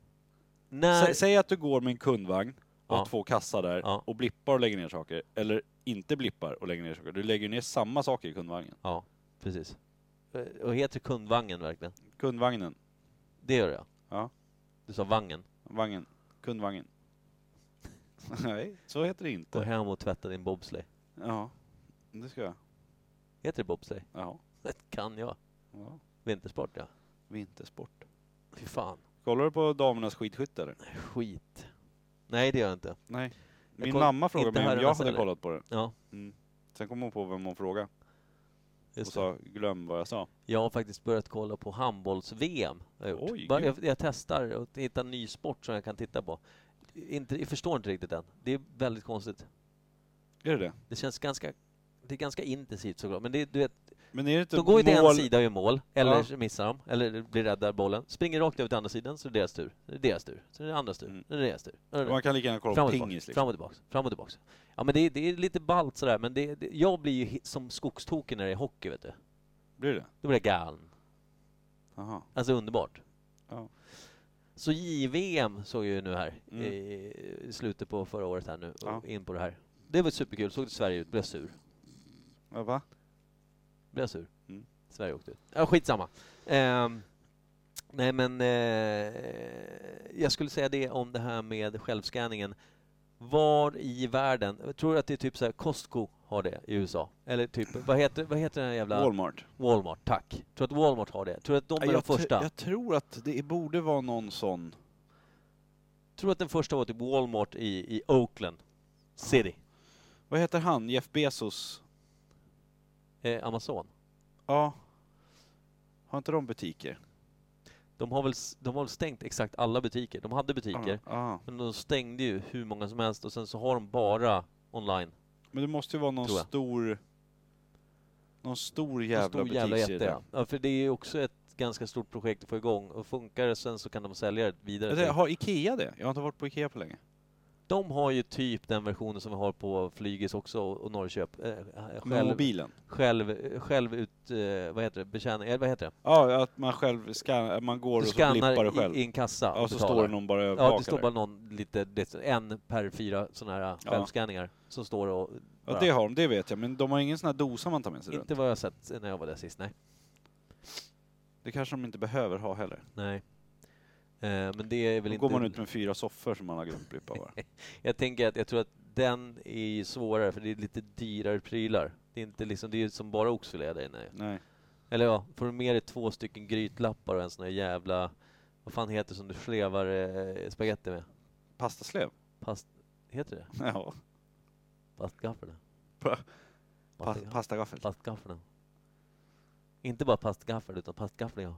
Speaker 1: När...
Speaker 2: Sä, säg att du går med en kundvagn och har
Speaker 1: Ja.
Speaker 2: två kassar där
Speaker 1: Ja.
Speaker 2: och blippar och lägger ner saker. Eller inte blippar och lägger ner saker. Du lägger ner samma saker i kundvagnen.
Speaker 1: Ja, precis. Eh, Och heter kundvagnen verkligen?
Speaker 2: Kundvagnen.
Speaker 1: Det gör jag.
Speaker 2: Ja.
Speaker 1: Du sa vangen.
Speaker 2: Vagnen. Kundvagnen. Nej, så heter det
Speaker 1: Gå
Speaker 2: inte.
Speaker 1: hem och tvätta din bobsleigh.
Speaker 2: Ja. Det ska jag.
Speaker 1: Heter det bobsleigh?
Speaker 2: Ja.
Speaker 1: Det kan jag.
Speaker 2: ja.
Speaker 1: Vintersport, ja.
Speaker 2: Vintersport.
Speaker 1: Fy fan.
Speaker 2: Kollar du på damernas skidskytte eller?
Speaker 1: Skit. Nej, det gör jag inte.
Speaker 2: Nej.
Speaker 1: Jag
Speaker 2: Min
Speaker 1: koll-
Speaker 2: mamma frågade
Speaker 1: inte
Speaker 2: mig om
Speaker 1: herrarnas
Speaker 2: jag hade
Speaker 1: heller.
Speaker 2: kollat på det.
Speaker 1: Ja,
Speaker 2: Mm. Sen kom hon på vem hon frågade och
Speaker 1: just det.
Speaker 2: sa glöm vad jag sa.
Speaker 1: Jag har faktiskt börjat kolla på handbolls-VM. har jag gjort.
Speaker 2: Oj,
Speaker 1: Bara
Speaker 2: gud.
Speaker 1: jag, jag testar och hittar en ny sport som jag kan titta på. Inte, jag förstår inte riktigt den. Det är väldigt konstigt.
Speaker 2: Är det det?
Speaker 1: Det känns ganska... Det är ganska intensivt såklart, men det, du vet,
Speaker 2: Men är det inte
Speaker 1: de går ju till en
Speaker 2: mål-
Speaker 1: sida och gör mål, eller
Speaker 2: Ja.
Speaker 1: så missar de, eller blir rädda bollen, springer rakt över till andra sidan, så är det deras tur, så är det deras tur, så är det andras tur,
Speaker 2: Mm.
Speaker 1: så är det deras tur. Så är det-
Speaker 2: Man kan lika gärna kolla
Speaker 1: Fram
Speaker 2: på
Speaker 1: och tillbaks,
Speaker 2: pingis liksom.
Speaker 1: fram och tillbaks, fram och tillbaks. Ja men det är, det är lite ballt sådär, men det, det, jag blir ju hi- som skogstokig när det är hockey vet du.
Speaker 2: Blir det?
Speaker 1: Då blir jag galen.
Speaker 2: Jaha.
Speaker 1: Alltså underbart.
Speaker 2: Ja.
Speaker 1: Så JVM såg jag ju nu här
Speaker 2: Mm.
Speaker 1: i, i slutet på förra året här nu, och
Speaker 2: Ja.
Speaker 1: in på det här. Det var superkul, såg Sverige ut, blev jag sur.
Speaker 2: Ja, va?
Speaker 1: Blev jag sur?
Speaker 2: Mm.
Speaker 1: Sverige åkte ut. Ja, skitsamma. Ehm, nej, men eh, jag skulle säga det om det här med självscanningen. Var i världen, jag tror att det är typ så här Costco har det i USA? Eller typ, vad heter, vad heter den här jävla...
Speaker 2: Walmart.
Speaker 1: Walmart, tack. Tror att Walmart har det? Tror att de är de
Speaker 2: jag, tr-
Speaker 1: första?
Speaker 2: jag tror att det borde vara någon sån.
Speaker 1: tror att den första var typ Walmart i, i Oakland City,
Speaker 2: Vad heter han? Jeff Bezos?
Speaker 1: eh, Amazon.
Speaker 2: Ja. Har inte de butiker?
Speaker 1: De har, väl, s- de har väl stängt exakt alla butiker. De hade butiker,
Speaker 2: Ja.
Speaker 1: men de stängde ju hur många som helst och sen så har de bara online.
Speaker 2: Men det måste ju vara någon
Speaker 1: Tror jag.
Speaker 2: stor... Någon stor
Speaker 1: En
Speaker 2: jävla
Speaker 1: stor jävla jätte.
Speaker 2: butikskedja.
Speaker 1: Ja. Ja, för det är ju också ett ganska stort projekt att få igång och funkar det sen så kan de sälja det vidare.
Speaker 2: Jag
Speaker 1: till-
Speaker 2: tänkte, Har Ikea det? Jag har inte varit på Ikea på länge.
Speaker 1: De har ju typ den versionen som vi har på Flygis också och och Norrköp. Eh,
Speaker 2: Med
Speaker 1: själv,
Speaker 2: mobilen.
Speaker 1: själv, själv ut, eh, vad heter det, betjäning, eh, vad heter det?
Speaker 2: Ja, att man själv scan, man går
Speaker 1: Du
Speaker 2: och så blippar
Speaker 1: skannar
Speaker 2: det själv.
Speaker 1: i, i en kassa
Speaker 2: ja,
Speaker 1: och
Speaker 2: och så
Speaker 1: betalar.
Speaker 2: står det någon bara
Speaker 1: Ja, det
Speaker 2: övervakar.
Speaker 1: står bara någon lite, det, är en per fyra sådana här
Speaker 2: Ja.
Speaker 1: självskanningar som står och...
Speaker 2: ja,
Speaker 1: bara-
Speaker 2: det har de, det vet jag. Men de har ingen sån här dosa man tar med sig runt.
Speaker 1: Inte vad jag har sett när jag var där sist, nej.
Speaker 2: Det kanske de inte behöver ha heller.
Speaker 1: nej. Eh, men det är väl
Speaker 2: Då
Speaker 1: inte...
Speaker 2: går man ut med fyra soffor som man har glömt blippa bara.
Speaker 1: Jag tänker att jag tror att den är ju svårare för det är lite dyrare prylar. Det är inte liksom, det är ju som bara oxfilé där inne.
Speaker 2: Nej.
Speaker 1: Eller ja, får du med dig två stycken grytlappar och en sån här jävla... Vad fan heter det som du slevar eh, spagetti med?
Speaker 2: Pastaslev?
Speaker 1: Past... Heter det
Speaker 2: Ja.
Speaker 1: Pastgaffel?
Speaker 2: Pa- Pa
Speaker 1: Pastgaffel.
Speaker 2: pastagaffel.
Speaker 1: Plastgafflarna. Inte bara plastgafflar utan plastgafflar ja.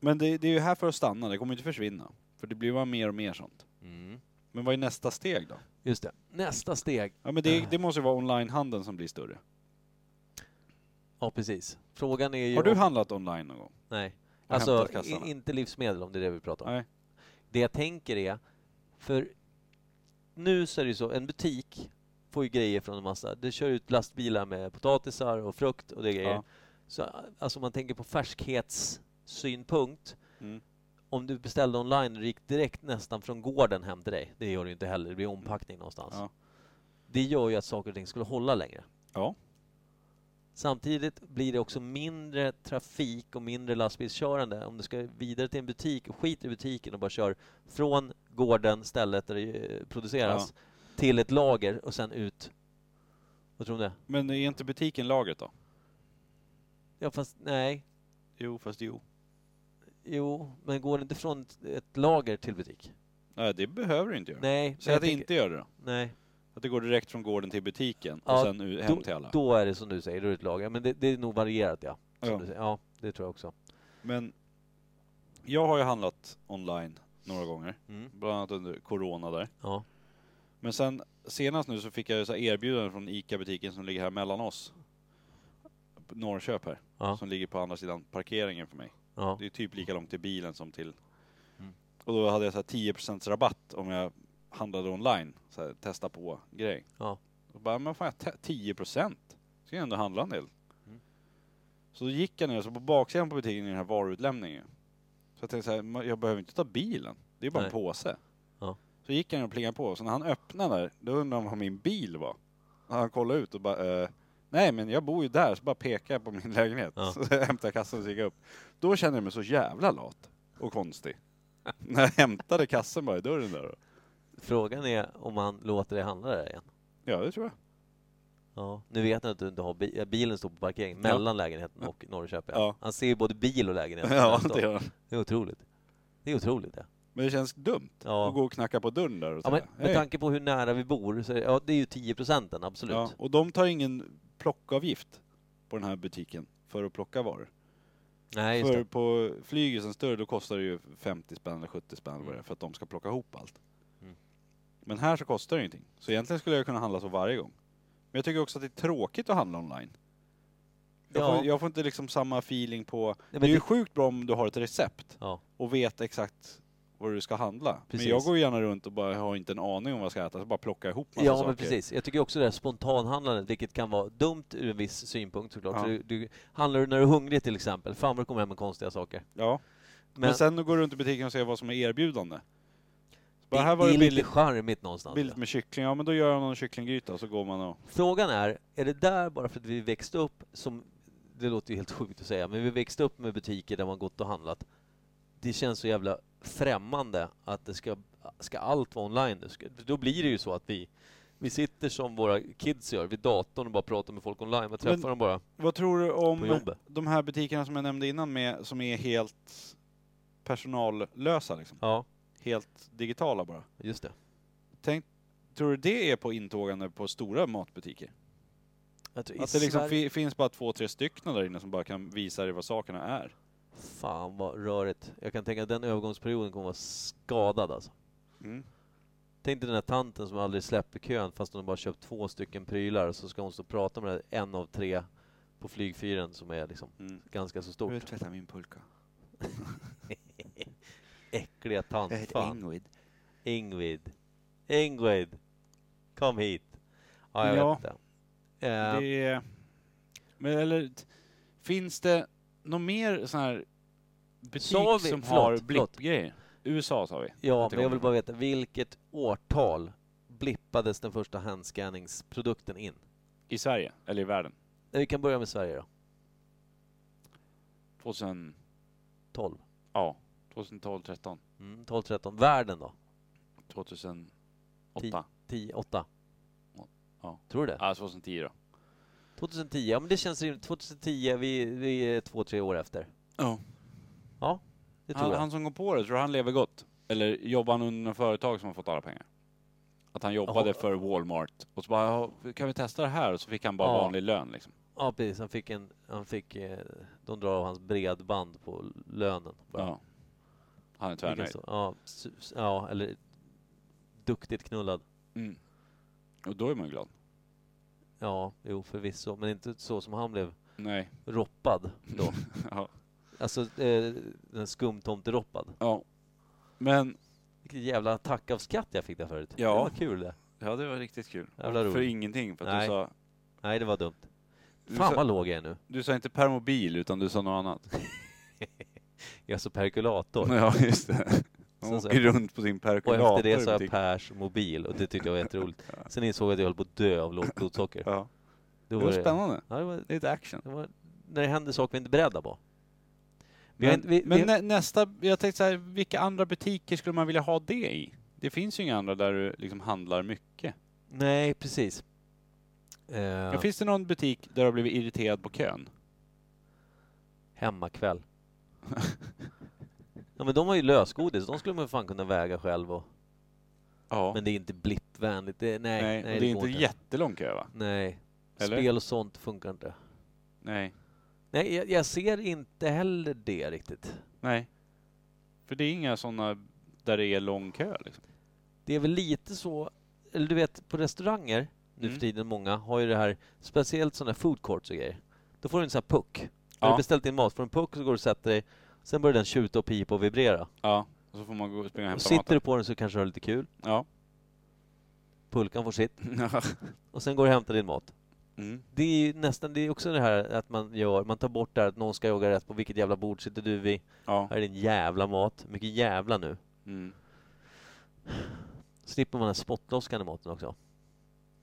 Speaker 2: Men det, det är ju här för att stanna, det kommer inte försvinna. För det blir bara mer och mer sånt.
Speaker 1: Mm.
Speaker 2: Men vad är nästa steg då?
Speaker 1: Just det. Nästa steg.
Speaker 2: Ja men
Speaker 1: Eh.
Speaker 2: det, det måste ju vara onlinehandeln som blir större.
Speaker 1: Ja precis. Frågan är ju...
Speaker 2: Har du
Speaker 1: om-
Speaker 2: handlat online någon gång?
Speaker 1: Nej.
Speaker 2: och
Speaker 1: Alltså
Speaker 2: hämtat kassarna?
Speaker 1: i- inte livsmedel om det är det vi pratar om.
Speaker 2: Nej.
Speaker 1: Det jag tänker är, för nu så är det ju så, en butik får ju grejer från en massa. Det kör ut lastbilar med potatisar och frukt och det grejer.
Speaker 2: Ja.
Speaker 1: Så alltså om man tänker på färskhetssynpunkt.
Speaker 2: Mm.
Speaker 1: Om du beställde online och gick direkt nästan från gården hem till dig. Det gör du inte heller, det blir ompackning någonstans.
Speaker 2: Ja.
Speaker 1: Det gör ju att saker och ting skulle hålla längre.
Speaker 2: Ja.
Speaker 1: Samtidigt blir det också mindre trafik och mindre lastbilskörande om du ska vidare till en butik och skiter i butiken och bara kör från gården, stället där det eh, produceras, till ett lager och sen ut. Vad tror du om det?
Speaker 2: Men är inte butiken lagret då?
Speaker 1: Ja fast nej,
Speaker 2: Jo, fast jo.
Speaker 1: jo, men går det inte från ett lager till butik?
Speaker 2: Nej, det behöver du inte göra.
Speaker 1: Nej, men
Speaker 2: Säg att det
Speaker 1: tänker-
Speaker 2: inte gör det då.
Speaker 1: Nej,
Speaker 2: Att det går direkt från gården till butiken
Speaker 1: Ja,
Speaker 2: och sen u- hem
Speaker 1: Då,
Speaker 2: till alla.
Speaker 1: då är det som du säger, då är det ett lager. Men det, det är nog varierat ja. Som
Speaker 2: Ja.
Speaker 1: Du säger. ja, det tror jag också.
Speaker 2: Men jag har ju handlat online några gånger,
Speaker 1: Mm.
Speaker 2: bland annat under corona där.
Speaker 1: Ja.
Speaker 2: Men sen senast nu så fick jag ju så här erbjudanden från ICA-butiken som ligger här mellan oss. Norrköp här,
Speaker 1: Ja.
Speaker 2: som ligger på andra sidan parkeringen för mig.
Speaker 1: Ja.
Speaker 2: Det är typ lika långt till bilen som till...
Speaker 1: Mm.
Speaker 2: Och då hade jag så här 10% rabatt om jag handlade online, så här, testa på grej.
Speaker 1: Ja.
Speaker 2: Och bara, men fan jag te- 10%? Ska jag ändå handla en del.
Speaker 1: Mm.
Speaker 2: Så då gick jag ner, så på baksidan på butiken är den här varuutlämningen. Så jag tänkte så här, "Ma- jag behöver inte ta bilen, det är bara en
Speaker 1: Nej.
Speaker 2: påse.
Speaker 1: Ja.
Speaker 2: Så gick jag ner och plingade på, så när han öppnade där, då undrade han vad min bil var. Och han kollade ut och bara, eh, nej men jag bor ju där, så bara pekade jag på min lägenhet.
Speaker 1: Ja.
Speaker 2: Så hämtade jag kassan och så gick jag upp. Då kände jag mig så jävla lat och konstig. När jag hämtade kassen bara i dörren där. då.
Speaker 1: Frågan är om man låter dig handla där igen.
Speaker 2: Ja, det tror jag.
Speaker 1: Ja. Nu vet han att du inte har bi- bilen står på parkeringen
Speaker 2: Ja.
Speaker 1: mellan lägenheten och Norrköping.
Speaker 2: Ja.
Speaker 1: Han ser ju både bil och lägenhet.
Speaker 2: Ja,
Speaker 1: Där står-
Speaker 2: det gör jag.
Speaker 1: det är otroligt. Det är otroligt det.
Speaker 2: Men det känns dumt att
Speaker 1: Ja.
Speaker 2: gå och knacka på dörren där och
Speaker 1: Ja,
Speaker 2: säga
Speaker 1: men med
Speaker 2: "Hej."
Speaker 1: tanke på hur nära vi bor, så är, ja, det är ju 10 procenten, absolut.
Speaker 2: ja, Och de tar ingen plockavgift på den här butiken för att plocka varor.
Speaker 1: Nej, just
Speaker 2: för
Speaker 1: det.
Speaker 2: på flyget sen större, då kostar det ju 50 spänn eller 70 spänn eller vad det är för att de ska plocka ihop allt.
Speaker 1: Mm.
Speaker 2: Men här så kostar det ingenting. Så egentligen skulle jag kunna handla så varje gång. Men jag tycker också att det är tråkigt att handla online. Jag,
Speaker 1: Ja.
Speaker 2: får, jag får inte liksom samma feeling på...
Speaker 1: Nej,
Speaker 2: det
Speaker 1: men
Speaker 2: är ju
Speaker 1: det,
Speaker 2: sjukt bra om du har ett recept
Speaker 1: Ja.
Speaker 2: och vet exakt vad du ska handla.
Speaker 1: Precis.
Speaker 2: Men jag går ju gärna runt och bara har inte en aning om vad jag ska äta, så bara plockar jag ihop massa
Speaker 1: ja,
Speaker 2: saker.
Speaker 1: men precis. Jag tycker också det här spontanhandlandet, vilket kan vara dumt ur en viss synpunkt såklart.
Speaker 2: Ja.
Speaker 1: För Du, du, handlar du när du är hungrig till exempel, fan vad du kommer hem med konstiga saker.
Speaker 2: Ja.
Speaker 1: Men,
Speaker 2: Men, sen går du runt i butiken och ser vad som är erbjudande. Så
Speaker 1: det,
Speaker 2: bara, här var
Speaker 1: det
Speaker 2: det
Speaker 1: är
Speaker 2: billigt,
Speaker 1: lite alltså. charmigt någonstans.
Speaker 2: billigt med kyckling, ja men då gör jag någon kycklinggryta och så går man och...
Speaker 1: Frågan är, är det där bara för att vi växte upp som, det låter ju helt sjukt att säga, men vi växte upp med butiker där man gått och handlat. Det känns så jävla främmande att det ska, ska allt vara online nu. Ska- Då blir det ju så att vi, vi sitter som våra kids gör vid datorn och bara pratar med folk online. Man träffar
Speaker 2: Men-
Speaker 1: dem bara
Speaker 2: Vad tror du
Speaker 1: på
Speaker 2: om
Speaker 1: jobbet.
Speaker 2: de här butikerna som jag nämnde innan med, som är helt personallösa liksom?
Speaker 1: Ja,
Speaker 2: Helt digitala bara.
Speaker 1: just det.
Speaker 2: Tänk, tror du det är på intågande på stora matbutiker?
Speaker 1: Jag tror i
Speaker 2: Att det liksom
Speaker 1: Sverige-
Speaker 2: fi- finns bara två, tre stycken där inne som bara kan visa dig vad sakerna är?
Speaker 1: Fan vad rörigt. Jag kan tänka att den övergångsperioden kommer vara skadad alltså.
Speaker 2: Mm.
Speaker 1: Tänk dig den här tanten som aldrig släpper kön fast hon bara köpt två stycken prylar och så ska hon stå och prata med den här en av tre på flygfyren som är liksom
Speaker 2: Mm.
Speaker 1: ganska så stort.
Speaker 2: tvätta min pulka?
Speaker 1: Äckliga tant. Fan.
Speaker 2: Ingrid.
Speaker 1: Ingrid. Ingrid. Kom hit. Ja, jag
Speaker 2: Ja.
Speaker 1: vet inte. Eh,
Speaker 2: Det är... Men eller, t- finns det någon mer sån här butik
Speaker 1: Sa vi-
Speaker 2: som
Speaker 1: förlåt,
Speaker 2: har
Speaker 1: förlåt.
Speaker 2: blippgrejer? USA sa vi.
Speaker 1: ja,
Speaker 2: inte
Speaker 1: men jag vill
Speaker 2: kommer.
Speaker 1: bara veta vilket årtal blippades den första handscanningsprodukten in?
Speaker 2: I Sverige, eller i världen.
Speaker 1: Eh, Vi kan börja med Sverige då.
Speaker 2: 2000,
Speaker 1: 12.
Speaker 2: ja, 2012, 13,
Speaker 1: Mm, 12, 13. Världen då?
Speaker 2: 2008.
Speaker 1: Tio. 10, 8?
Speaker 2: Ja.
Speaker 1: Tror du det?
Speaker 2: Ja, 2010 då.
Speaker 1: 2010, ja men det känns rimligt. 2010, vi, vi är två, tre år efter.
Speaker 2: Ja.
Speaker 1: Ja, det tror
Speaker 2: Han,
Speaker 1: jag.
Speaker 2: han som kom på det, tror du han lever gott? Eller jobbar han under något företag som har fått alla pengar? Att han jobbade
Speaker 1: Ja.
Speaker 2: för Walmart och så bara, "Ja, kan vi testa det här? Och så fick han bara
Speaker 1: Ja.
Speaker 2: vanlig lön liksom.
Speaker 1: Ja precis, han fick en, han fick, eh, de drar av hans bredband på lönen. bara.
Speaker 2: Ja. Han är
Speaker 1: Vilken
Speaker 2: tvärnöjd.
Speaker 1: så- ja, su- su- ja, eller duktigt knullad.
Speaker 2: Mm. Och då är man ju glad.
Speaker 1: Ja, jo förvisso, men inte så som han blev
Speaker 2: Nej.
Speaker 1: roppad då.
Speaker 2: Ja.
Speaker 1: Alltså eh, den skumtomteroppad.
Speaker 2: ja. Men,
Speaker 1: Vilket jävla attack av skratt jag fick där förut.
Speaker 2: Ja.
Speaker 1: Det var kul det.
Speaker 2: ja det var riktigt kul.
Speaker 1: Jävla
Speaker 2: För
Speaker 1: roligt.
Speaker 2: ingenting, för att
Speaker 1: Nej.
Speaker 2: du sa,
Speaker 1: Nej, det var dumt.
Speaker 2: du
Speaker 1: Fan
Speaker 2: sa,
Speaker 1: vad låg jag är nu.
Speaker 2: du sa inte permobil utan du sa något annat.
Speaker 1: Jag är så perkulator.
Speaker 2: Ja, just det. Man
Speaker 1: Sen så-
Speaker 2: åker runt på sin
Speaker 1: Och
Speaker 2: perkulator.
Speaker 1: efter det
Speaker 2: i
Speaker 1: sa jag
Speaker 2: butik.
Speaker 1: Pers mobil och det tyckte jag var jätteroligt. Sen insåg jag att jag höll på att dö av lågt blodsocker.
Speaker 2: ja.
Speaker 1: Det
Speaker 2: Det var spännande.
Speaker 1: Ja, det var,
Speaker 2: Lite action.
Speaker 1: det var, när det händer saker vi inte är beredda på. Vi har
Speaker 2: Men,
Speaker 1: inte- vi-
Speaker 2: men
Speaker 1: vi-
Speaker 2: nä, nästa, jag tänkte så här, vilka andra butiker skulle man vilja ha det i? Det finns ju inga andra där du liksom handlar mycket.
Speaker 1: Nej, precis. Eh,
Speaker 2: Men finns det någon butik där du har blivit irriterad på kön?
Speaker 1: Hemmakväll. ja men de har ju lösgodis, de skulle man ju fan kunna väga själv och...
Speaker 2: Ja.
Speaker 1: Men det är inte blipp vänligt. Det, nej,
Speaker 2: Nej,
Speaker 1: nej,
Speaker 2: och det är
Speaker 1: går
Speaker 2: inte jättelång kö va?
Speaker 1: Nej.
Speaker 2: Eller?
Speaker 1: Spel och sånt funkar inte.
Speaker 2: Nej.
Speaker 1: Nej, jag, jag ser inte heller det riktigt.
Speaker 2: Nej. För det är inga sådana där det är lång kö liksom.
Speaker 1: Det är väl lite så, eller du vet på restauranger nu
Speaker 2: Mm.
Speaker 1: för tiden, många har ju det här, speciellt sådana här food courts och grejer. Då får du en sån här puck. När
Speaker 2: Ja.
Speaker 1: du beställt din mat, får du en puck och så går du och sätter dig. Sen börjar den tjuta och pipa och vibrera.
Speaker 2: Ja. Och så får man gå och springa och
Speaker 1: Och
Speaker 2: hämta
Speaker 1: sitter
Speaker 2: maten.
Speaker 1: du på den så kanske du har lite kul.
Speaker 2: Ja.
Speaker 1: Pulkan får sitt. Och sen går du och hämtar din mat.
Speaker 2: mm.
Speaker 1: Det är ju nästan, det är också det här att man gör, man tar bort det här att någon ska jaga rätt på vilket jävla bord sitter du vid.
Speaker 2: Ja.
Speaker 1: Här är din jävla mat. Mycket jävla nu.
Speaker 2: Mm.
Speaker 1: Slipper man den här spottlosskan i maten också.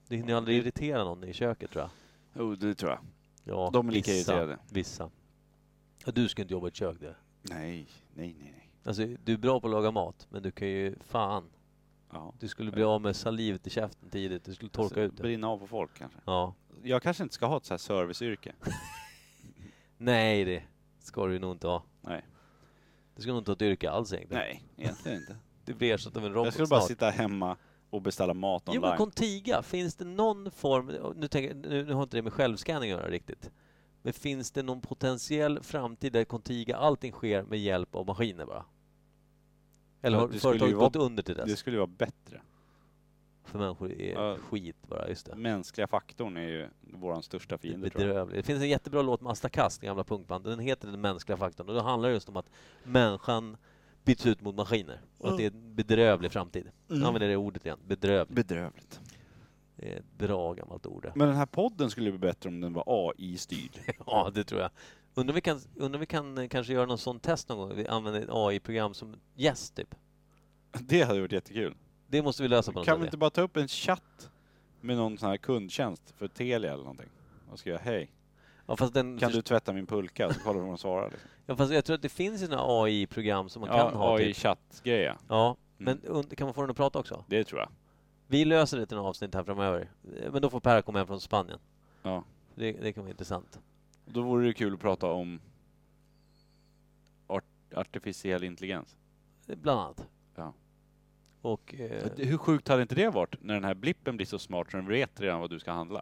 Speaker 1: Det hinner ju aldrig
Speaker 2: Mm.
Speaker 1: irritera någon i köket tror jag.
Speaker 2: Jo, det tror jag.
Speaker 1: Ja,
Speaker 2: De är lika
Speaker 1: vissa.
Speaker 2: irriterade.
Speaker 1: Vissa. Ja, du ska inte jobba i ett kök det.
Speaker 2: Nej, nej, nej, nej.
Speaker 1: Alltså, du är bra på att laga mat, men du kan ju fan.
Speaker 2: Ja.
Speaker 1: Du skulle bli av med salivet i käften tidigt. Du skulle
Speaker 2: Alltså,
Speaker 1: torka ut det.
Speaker 2: Brinna av på folk kanske.
Speaker 1: Ja.
Speaker 2: Jag kanske inte ska ha ett så här serviceyrke.
Speaker 1: Nej, det ska du nog inte ha.
Speaker 2: Nej.
Speaker 1: Du ska nog inte ha ett yrke alls egentligen.
Speaker 2: Nej, egentligen inte.
Speaker 1: Du blir ersatt av en robot
Speaker 2: Jag skulle bara
Speaker 1: snart.
Speaker 2: sitta hemma och beställa mat
Speaker 1: Jo men
Speaker 2: online.
Speaker 1: Contiga, finns det någon form, nu, tänker, nu, nu har inte det med självscanning att göra riktigt, men finns det någon potentiell framtid där Contiga, allting sker med hjälp av maskiner bara? Eller
Speaker 2: Ja,
Speaker 1: har
Speaker 2: det skulle ju
Speaker 1: företaget
Speaker 2: vara-
Speaker 1: gått under till dess?
Speaker 2: Det skulle ju vara bättre.
Speaker 1: För människor är
Speaker 2: Ja.
Speaker 1: skit bara, just det.
Speaker 2: Mänskliga faktorn är ju våran största fiende tror jag.
Speaker 1: Bedrövligt. Det finns en jättebra låt med Asta Kass, den gamla punkbandet, den heter Den mänskliga faktorn och det handlar just om att människan byts ut mot maskiner och att det är en bedrövlig framtid. Nu
Speaker 2: Mm.
Speaker 1: använder jag det ordet igen, bedrövligt.
Speaker 2: Bedrövligt.
Speaker 1: Det är ett bra gammalt ord det.
Speaker 2: Men den här podden skulle bli bättre om den var AI-styrd.
Speaker 1: Ja, det tror jag. Undrar om vi kan, undrar om vi kan eh, kanske göra någon sån test någon gång? Vi använder ett AI-program som gäst, typ.
Speaker 2: Det hade varit jättekul.
Speaker 1: Det måste vi lösa på något
Speaker 2: Kan vi
Speaker 1: sätt.
Speaker 2: inte bara ta upp en chatt med någon sån här kundtjänst för Telia eller någonting? Och skriva hej,
Speaker 1: Ja, fast den,
Speaker 2: kan du tvätta min pulka? Så kollar vi om de svarar. Liksom.
Speaker 1: ja, fast jag tror att det finns ju några AI-program som man
Speaker 2: Ja,
Speaker 1: kan ha. Typ.
Speaker 2: AI-chattgreja.
Speaker 1: Ja,
Speaker 2: Mm.
Speaker 1: men und- kan man få den att prata också?
Speaker 2: Det tror jag.
Speaker 1: Vi löser det till något avsnitt här framöver. Eh, Men då får Per komma hem från Spanien.
Speaker 2: Ja.
Speaker 1: Det, det kan vara intressant.
Speaker 2: Och Då vore det kul att prata om art- artificiell intelligens.
Speaker 1: Eh, Bland annat.
Speaker 2: Ja.
Speaker 1: Och... Eh,
Speaker 2: Hur sjukt hade inte det varit när den här blippen blir så smart så den vet redan vad du ska handla?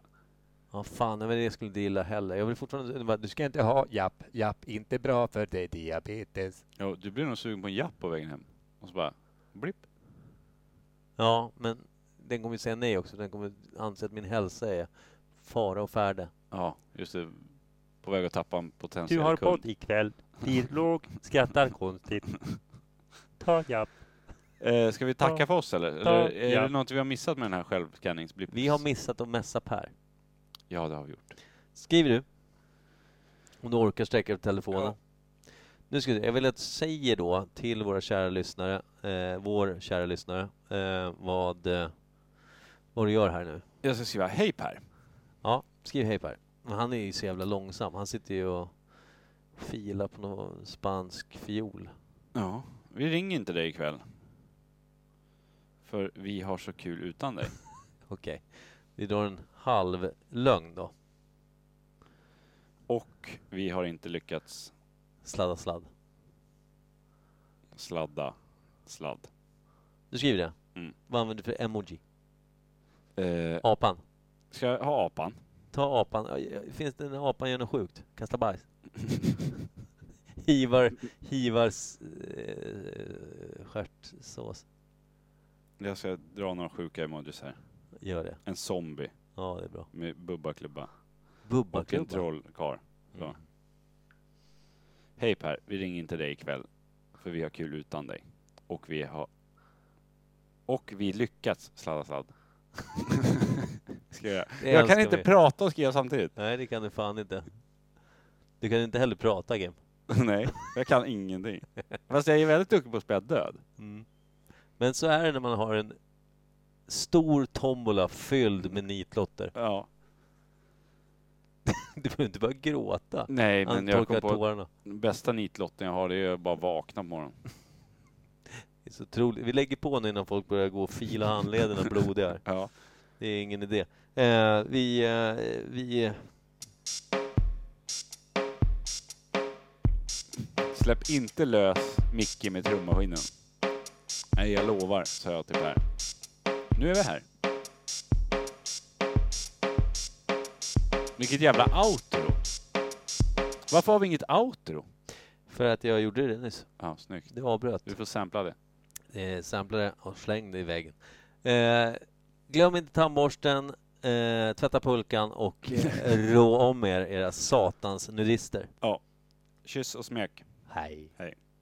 Speaker 1: ja, fan, nej, men det skulle jag inte gilla heller. Jag vill fortfarande... Du
Speaker 7: Du ska inte ha, japp, japp, inte bra för dig, diabetes.
Speaker 2: Ja, du blir nog sugen på en japp på vägen hem. Och så bara, blipp.
Speaker 1: Ja, men den kommer ju säga nej också. Den kommer anse att min hälsa är fara och färde.
Speaker 2: Ja, just det. På väg att tappa en potentiell
Speaker 6: Du har
Speaker 2: kund.
Speaker 6: podd ikväll. Blir låg, skrattar konstigt. Ta japp.
Speaker 2: Eh, ska vi tacka
Speaker 6: Ja.
Speaker 2: för oss eller?
Speaker 6: Ja.
Speaker 2: eller är det
Speaker 6: Ja.
Speaker 2: något vi har missat med den här självskanningsblippen?
Speaker 1: Vi har missat att messa Per.
Speaker 2: Ja, det har vi gjort.
Speaker 1: Skriver du? Om du orkar sträcka ut telefonen.
Speaker 2: Ja.
Speaker 1: Nu ska vi, se. jag vill att du säger då till våra kära lyssnare, eh, vår kära lyssnare, eh, vad, eh, vad du gör här nu.
Speaker 2: Jag ska skriva, hej Per.
Speaker 1: Ja, skriv hej Per. Men han är ju så jävla långsam. Han sitter ju och filar på någon spansk fiol.
Speaker 2: Ja, vi ringer inte dig ikväll. För vi har så kul utan dig.
Speaker 1: Okej. Vi drar en halv lögn då.
Speaker 2: Och vi har inte lyckats
Speaker 1: Sladda sladd.
Speaker 2: sladda sladd.
Speaker 1: Du skriver det?
Speaker 2: Mm.
Speaker 1: Vad använder du för emoji?
Speaker 2: Eh,
Speaker 1: Apan.
Speaker 2: ska jag ha apan?
Speaker 1: Ta apan. Ja, ja, Finns det en apan gör något sjukt? Kasta bajs. hivar, hivar s- eh, stjärtsås.
Speaker 2: Jag ska dra några sjuka emojis här.
Speaker 1: Gör det.
Speaker 2: En zombie
Speaker 1: Ja, det är bra.
Speaker 2: med bubbaklubba och en
Speaker 1: Bubbaklubba.
Speaker 2: trollkarl. Så.
Speaker 1: Mm.
Speaker 2: Hej Per, vi ringer inte dig ikväll. För vi har kul utan dig. Och vi har... Och vi lyckats sladda sladd. ska jag
Speaker 1: Det
Speaker 2: jag kan
Speaker 1: älskar
Speaker 2: inte
Speaker 1: vi.
Speaker 2: prata och skriva samtidigt.
Speaker 1: Nej, det kan du fan inte. Du kan inte heller prata, Gem.
Speaker 2: Nej, jag kan ingenting. Fast jag är väldigt duktig på att spela död.
Speaker 1: Mm. Men så är det när man har en stor tombola fylld med nitlotter.
Speaker 2: Ja.
Speaker 1: Du behöver inte börja gråta.
Speaker 2: Nej, men
Speaker 1: Han
Speaker 2: jag kom
Speaker 1: torkar
Speaker 2: på
Speaker 1: tårarna.
Speaker 2: Den bästa nitlotten jag har det är att bara vakna på morgonen.
Speaker 1: Det är så otroligt. Vi lägger på nu innan folk börjar gå och fila handlederna blodiga. här.
Speaker 2: Ja.
Speaker 1: Det är ingen idé. Eh, vi, eh, vi...
Speaker 2: Släpp inte lös Micke med trummaskinen. Nej, jag lovar, sa jag till Per. Nu är vi här. Vilket jävla outro. Varför har vi inget outro?
Speaker 1: För att jag gjorde det nyss.
Speaker 2: Ja, snyggt.
Speaker 1: Det avbröt.
Speaker 2: Du får sampla det.
Speaker 1: Eh, Sampla det och släng det i väggen. Eh, glöm inte tandborsten, eh, tvätta pulkan och eh, rå om er, era satans nudister.
Speaker 2: Kyss och smek.
Speaker 1: Hej!
Speaker 2: Hej.